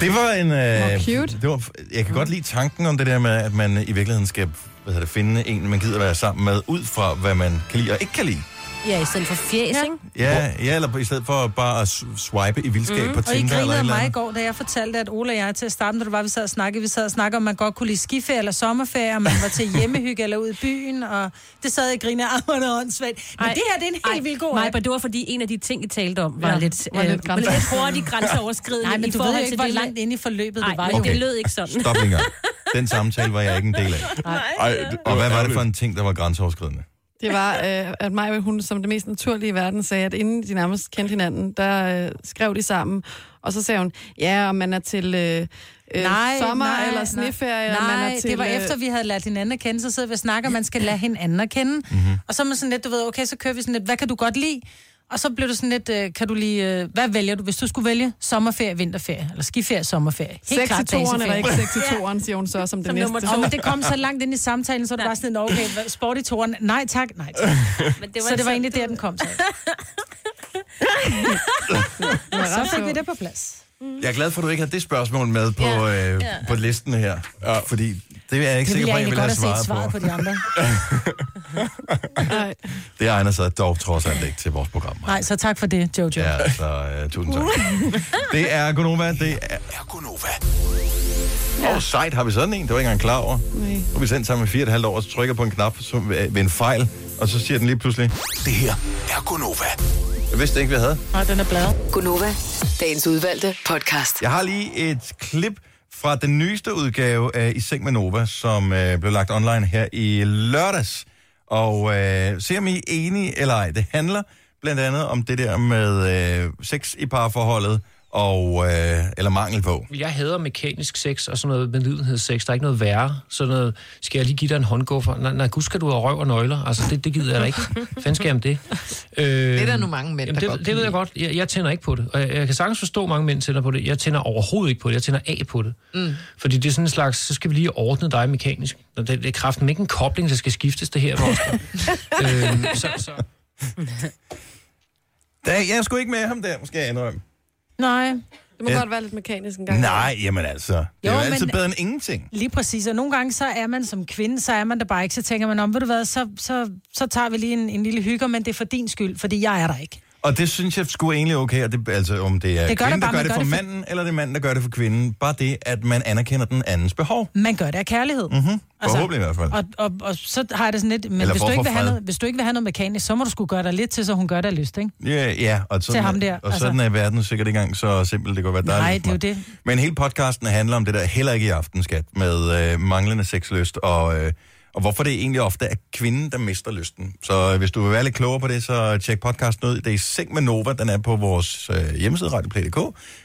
S1: Det var en... Øh,
S4: Hvor cute.
S1: Det var, jeg kan godt lide tanken om det der med, at man i virkeligheden skal hvad hedder det, finde en, man gider være sammen med, ud fra hvad man kan lide og ikke kan lide.
S4: Ja, i stedet for fjæs, ikke?
S1: Ja, ja eller i stedet for bare at s- swipe i vildskab mm. på
S2: Og I
S1: Tinder eller et
S2: grinede af
S1: eller
S2: mig i
S1: andet.
S2: går, da jeg fortalte, at Ola og jeg til at starte, da du var, vi sad og snakkede, vi sad og snakkede, om man godt kunne lide skiferie eller sommerferie, om man var til hjemmehygge eller ud i byen, og det sad jeg og grinede af, hvor noget åndssvagt. Men
S4: Ej,
S2: det her, det er en helt vildt god
S4: Nej,
S2: app.
S4: men det var fordi en af de ting, I talte om, var
S2: Ja,
S4: ja, lidt,
S2: var
S4: øh,
S2: lidt
S4: var lidt hurtigt grænseoverskridende.
S2: Nej, men
S4: i
S2: du
S4: forhold
S2: ved jo
S4: til
S2: ikke, hvor
S4: det-
S2: langt inde i forløbet det
S4: Ej,
S2: var.
S4: men
S2: jo.
S4: det lød ikke sådan.
S1: Stop en gang. Den samtale var jeg ikke en del af.
S5: Ej, det,
S1: Og hvad var det for en ting, der var grænseoverskridende?
S3: Det var, øh, at mig, hun som det mest naturlige i verden sagde, at inden de nærmest kendte hinanden, der øh, skrev de sammen. Og så sagde hun, ja, om man er til øh, øh, nej, sommer nej, eller sneferie,
S2: nej,
S3: og man er
S2: Nej,
S3: til...
S2: det var
S3: øh,
S2: efter, vi havde lært hinanden at kende, så sidder vi og snakker, man skal lade hinanden at kende.
S1: Mhm.
S2: Mm-hmm. Og så er man sådan lidt, du ved, okay, så kører vi sådan lidt, hvad kan du godt lide? Og så blev det sådan lidt, øh, kan du lige, øh, hvad vælger du, hvis du skulle vælge sommerferie, vinterferie, eller skiferie, sommerferie?
S3: Helt klart
S2: baseferie.
S3: eller ikke 6 toeren, siger hun så som det
S2: Som
S3: næste.
S2: nummer to. men det kom så langt ind i samtalen, så det var sådan, "Nå, okay, hvad- sport i toren. Nej tak, nej tak.
S4: Men
S2: Det var så det var egentlig der, den kom så. så fik vi det på plads.
S1: Jeg er glad for, at du ikke har det spørgsmål med på,
S2: Ja.
S1: øh,
S2: Ja.
S1: på listen her. Ja. Fordi det er jeg ikke
S2: Det
S1: sikker
S2: ville
S1: på,
S2: jeg
S1: at jeg
S2: egentlig
S1: ville have
S2: godt have
S1: svaret
S2: set
S1: på.
S2: svaret på de andre.
S1: Det egner sig dog trods alt ikke til vores program.
S2: Nej, så tak for det, Jojo.
S1: Ja, så øh, tusind tak. Det er Gunova, det er...
S6: Gunova.
S1: Åh, oh, sejt, har vi sådan en? Det var jeg ikke engang klar over. Nu er vi sendt sammen i fire og et halvt år, og så trykker jeg på en knap som, ved en fejl, og så siger den lige pludselig... Det her er Gunova. Jeg vidste ikke, vi havde.
S2: Nej, den er bladet.
S7: Gunova, dagens udvalgte podcast.
S1: Jeg har lige et klip fra den nyeste udgave af I Seng med Nova, som øh, blev lagt online her i lørdags. Og øh, se om I er enige eller ej. Det handler blandt andet om det der med øh, sex i parforholdet, og, øh, eller mangel på.
S16: Jeg hader mekanisk sex og sådan noget medlidenhedssex. Der er ikke noget værre. Sådan noget, skal jeg lige give dig en håndguffer? Nej, nej, gud skal du have røv og nøgler. Altså, det, det gider jeg da ikke. Fanden skal jeg om det? Øh, det
S17: er der nu mange mænd,
S16: jamen,
S17: der
S16: det,
S17: godt kan
S16: det ved jeg
S17: lide.
S16: godt. Jeg, jeg tænder ikke på det. Og jeg, jeg kan sagtens forstå, at mange mænd tænder på det. Jeg tænder overhovedet ikke på det. Jeg tænder af på det.
S17: Mm.
S16: Fordi det er sådan en slags, så skal vi lige ordne dig mekanisk. Nå, Det, det er kraften ikke en kobling, der skal skiftes det her. Vores. øhm, så, så.
S1: Da, jeg er sgu ikke med ham der, måske jeg indrømme.
S2: Nej.
S3: Det må
S1: Ja.
S3: godt være lidt mekanisk en gang.
S1: Nej, jamen altså. Det er jo,
S2: Jo,
S1: altid
S2: men-
S1: bedre end ingenting.
S2: Lige præcis, og nogle gange så er man som kvinde, så er man der bare ikke, så tænker man om, ved du hvad, så, så, så tager vi lige en, en lille hygge, men det er for din skyld, fordi jeg er der ikke.
S1: Og det synes jeg skulle egentlig er okay, og det, altså om det er
S2: Det gør
S1: kvinden,
S2: det
S1: der gør
S2: bare, man
S1: det
S2: gør
S1: for
S2: det for-
S1: manden, eller det er manden, der gør det for kvinden. Bare det, at man anerkender den andens behov.
S2: Man gør det af kærlighed. Altså,
S1: Mhm. Forhåbentlig i hvert fald.
S2: Og, og, og så har jeg det sådan lidt, men
S1: Eller
S2: hvis du,
S1: hvorfor
S2: ikke vil have
S1: fred?
S2: noget, hvis du ikke vil have noget mekanisk, så må du skulle gøre dig lidt til, så hun gør dig lyst, ikke?
S1: Ja, ja og sådan,
S2: Til ham der,
S1: og sådan
S2: altså.
S1: er verden sikkert ikke engang så simpelt. Det kunne være dejligt.
S2: Nej, det er jo
S1: for mig.
S2: det.
S1: Men hele podcasten handler om det der heller ikke i aften, skat, med øh, manglende sexlyst, og, øh, og hvorfor det egentlig ofte er kvinden, der mister lysten. Så øh, hvis du vil være lidt klogere på det, så tjek podcasten ud. Det er i Seng med Nova, den er på vores øh, hjemmeside, radioplay.dk,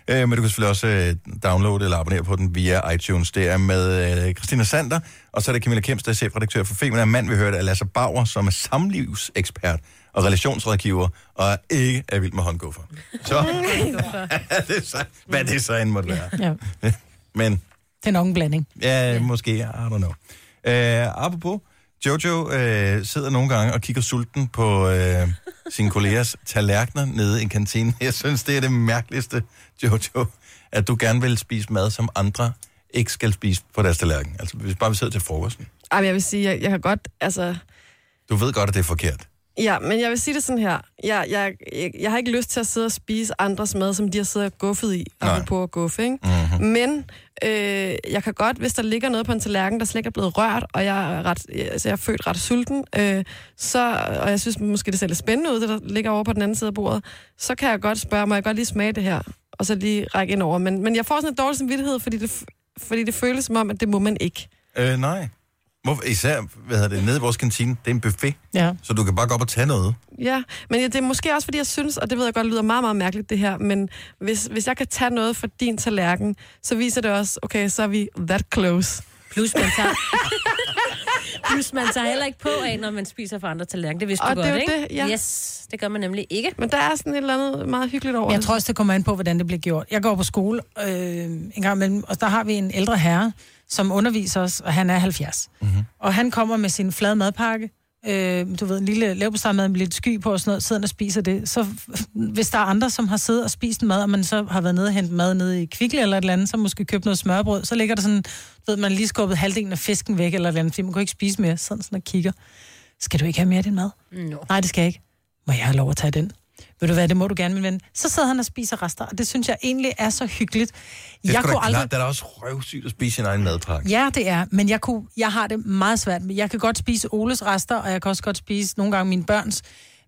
S1: øh, men du kan selvfølgelig også øh, downloade eller abonnere på den via iTunes. Det er med øh, Christina Sander, og så er det Camilla Kemps, der er chefredaktør for Femina. Mand, vi hørte, er Lasse Bauer, som er samlivsekspert og relationsrådgiver, og ikke er vild med håndguffer. Så det er så, hvad det så end måtte være.
S2: Ja,
S1: Men
S2: det er nok en blanding.
S1: ja, måske, I don't know. Uh, apropos, Jojo uh, sidder nogle gange og kigger sulten på uh, sine kollegers tallerkener nede i en kantine. Jeg synes, det er det mærkeligste, Jojo, at du gerne vil spise mad, som andre ikke skal spise på deres tallerken. Altså, hvis bare vi sidder til frokosten.
S3: Ej, men jeg vil sige, jeg, jeg kan godt, altså...
S1: Du ved godt, at det er forkert.
S3: Ja, men jeg vil sige det sådan her. Jeg, jeg, jeg, jeg har ikke lyst til at sidde og spise andres mad, som de har siddet og guffet i. Og på at guffe, ikke? Mm-hmm. Men øh, jeg kan godt, hvis der ligger noget på en tallerken, der slet ikke er blevet rørt, og jeg er, ret, altså, jeg er født ret sulten, øh, så, og jeg synes måske, det ser lidt spændende ud, det der ligger over på den anden side af bordet, så kan jeg godt spørge, må jeg godt lige smage det her? Og så lige række ind over. Men, men jeg får sådan en dårlig samvittighed, fordi det, f- fordi det føles som om, at det må man ikke.
S1: Uh, nej. Hvorfor, især, hvad hedder det, nede i vores kantine, det er en buffet.
S2: Ja.
S1: Så du kan bare gå op og tage noget.
S3: Ja, men ja, det er måske også, fordi jeg synes, og det ved jeg godt, lyder meget, meget mærkeligt det her, men hvis, hvis jeg kan tage noget fra din tallerken, så viser det også, okay, så er vi that close.
S4: Plus man tager... Plus man tager heller ikke på af, når man spiser for andre tallerkener. Det vidste
S3: Og
S4: du
S3: det er
S4: godt,
S3: jo
S4: ikke?
S3: det, ja.
S4: Yes, det gør man nemlig ikke.
S3: Men der er sådan et eller andet meget hyggeligt over
S2: Jeg tror også, det kommer an på, hvordan det bliver gjort. Jeg går på skole øh, en gang imellem, og der har vi en ældre herre, som underviser os, og han er 70. Mm-hmm. Og han kommer med sin flade madpakke, øh, du ved, en lille lavbestandmad med lidt sky på og sådan noget, sidder og spiser det. Så hvis der er andre, som har siddet og spist en mad, og man så har været nede og hentet mad nede i Kvickly eller et eller andet, så måske købt noget smørbrød, så ligger der sådan, du ved, man har lige skubbet halvdelen af fisken væk eller et eller andet, fordi man kunne ikke spise mere, sådan sådan og kigger. Skal du ikke have mere af din mad?
S4: No.
S2: Nej, det skal jeg ikke. Må jeg have lov at tage den? Ved du hvad, det må du gerne, min ven. Så sidder han og spiser rester, og det synes jeg egentlig er så hyggeligt.
S1: Det er
S2: jeg
S1: sgu da klart, der er da også røvsygt at spise sin egen madpakke.
S2: Ja, det er, men jeg, kunne, jeg har det meget svært med. Jeg kan godt spise Oles rester, og jeg kan også godt spise nogle gange mine børns.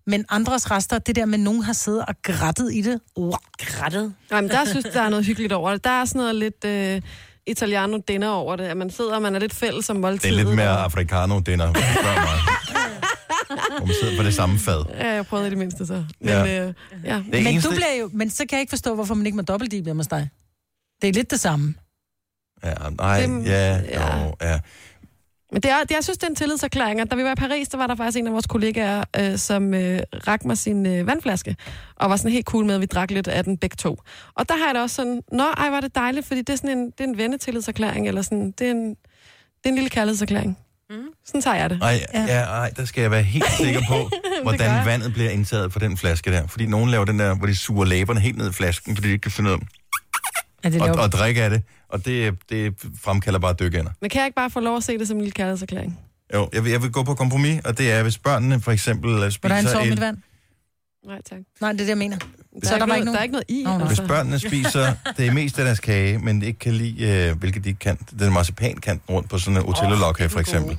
S2: Men andres rester, det der med, at nogen har siddet og grættet i det. Wow.
S4: Grættet?
S3: Nej, men der synes jeg, der er noget hyggeligt over det. Der er sådan noget lidt øh, italiano dinner over det, at man sidder, og man er lidt fælles om
S1: Det
S3: måltidet.
S1: er lidt mere africano dinner, hvis du spørger mig. Hvor man sidder på det samme fad.
S3: Ja, jeg prøvede i det mindste så. Men,
S1: Ja.
S3: ja. Øh, ja.
S2: Men,
S1: eneste-
S2: du bliver jo, men så kan jeg ikke forstå, hvorfor man ikke må dobbeltdip hjemme hos dig. Det er lidt det samme.
S1: Ja, nej,
S3: Dem-
S1: ja, jo, ja.
S3: Men det er, det, jeg synes, det er en tillidserklæring. Og da vi var i Paris, der var der faktisk en af vores kollegaer, øh, som øh, rakte mig sin øh, vandflaske, og var sådan helt cool med, at vi drak lidt af den begge to. Og der har jeg da også sådan, nå, ej, var det dejligt, fordi det er sådan en, det er en vennetillidserklæring, eller sådan, det er en, det er en lille kærlighedserklæring. Mm. Sådan tager jeg det.
S1: Ej, ja. ej, der skal jeg være helt sikker på,
S3: gør jeg.
S1: hvordan vandet bliver indtaget på den flaske der. Fordi nogen laver den der, hvor de suger læberne helt ned i flasken, fordi de ikke kan finde ud af
S2: Ja, det
S1: og,
S3: laver-
S1: og drikke af det. Og det, det fremkalder bare dykkender.
S3: Men kan jeg ikke bare få lov at se det som en lille kærlighedserklæring?
S1: Jo, jeg vil, jeg vil gå på kompromis, og det er, hvis børnene for eksempel øh, spiser...
S2: Hvordan så
S1: et-
S2: mit vand?
S3: Nej, tak.
S2: Nej, det er det, jeg mener.
S3: Der er, ikke noget, der er ikke noget i. altså.
S2: Nå, nå.
S1: Hvis børnene spiser det meste af deres kage, men ikke kan lide, øh, hvilket de ikke kan, den marcipankanten rundt på sådan en otello oh, her for eksempel,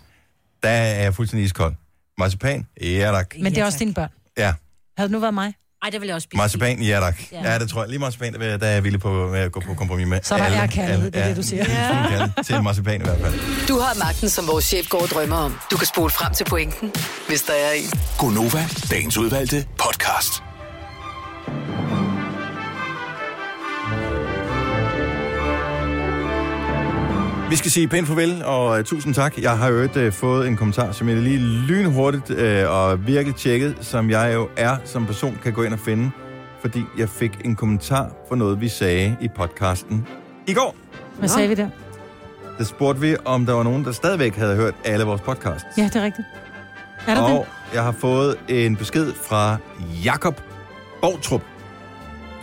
S1: der er jeg fuldstændig iskold. Marcipan? Ja, tak.
S2: Men det er også dine børn.
S1: Ja,
S2: Havde det nu været mig?
S4: Ej, det vil jeg også spise.
S1: marcipan, ja tak.
S4: Ja.
S1: Ja. det tror jeg. Lige marcipan, der vil- der er jeg villig på med at gå på kompromis med.
S7: Så der
S1: alle,
S7: er kærlighed,
S1: alle-
S7: det er det,
S1: ja,
S7: du siger.
S1: en lille smule
S7: Ja.
S1: kærlighed Til marcipan i hvert fald.
S7: Du har magten, som vores chef går og drømmer om. Du kan spole frem til pointen, hvis der er en.
S6: Gonova, dagens udvalgte podcast.
S1: Vi skal sige pænt farvel, og uh, tusind tak. Jeg har jo øvrigt uh, fået en kommentar, som jeg lige lynhurtigt uh, og virkelig tjekket, som jeg jo er som person, kan gå ind og finde, fordi jeg fik en kommentar for noget, vi sagde i podcasten i går.
S2: Hvad sagde vi der?
S1: Der spurgte vi, om der var nogen, der stadigvæk havde hørt alle vores podcasts.
S2: Ja, det er rigtigt. Er der
S1: og
S2: det?
S1: jeg har fået en besked fra Jakob Bortrup.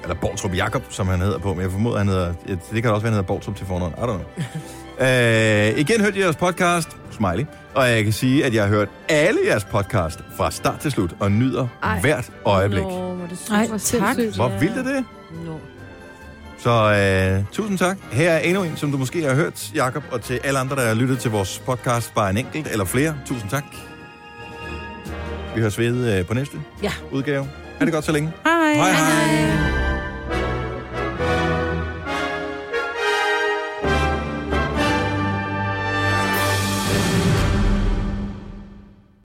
S1: Eller Bortrup Jakob, som han hedder på, men jeg formoder, han hedder... Det kan da også være, han hedder Bortrup til fornavn. I don't know. øh, igen hørte jeg jeres podcast, smiley, og jeg kan sige, at jeg har hørt alle jeres podcast fra start til slut, og nyder Ej. hvert øjeblik. Nå.
S4: Åh, hvor er det super
S2: Ej,
S4: sindssygt.
S2: tak.
S1: Hvor vildt er det?
S4: Nå.
S1: Så øh, tusind tak. Her er endnu en, som du måske har hørt, Jakob, og til alle andre, der har lyttet til vores podcast, bare en enkelt eller flere. Tusind tak. Vi høres ved øh, på næste
S2: Ja.
S1: udgave. Er det godt så længe?
S2: Hej.
S1: Hej, hej.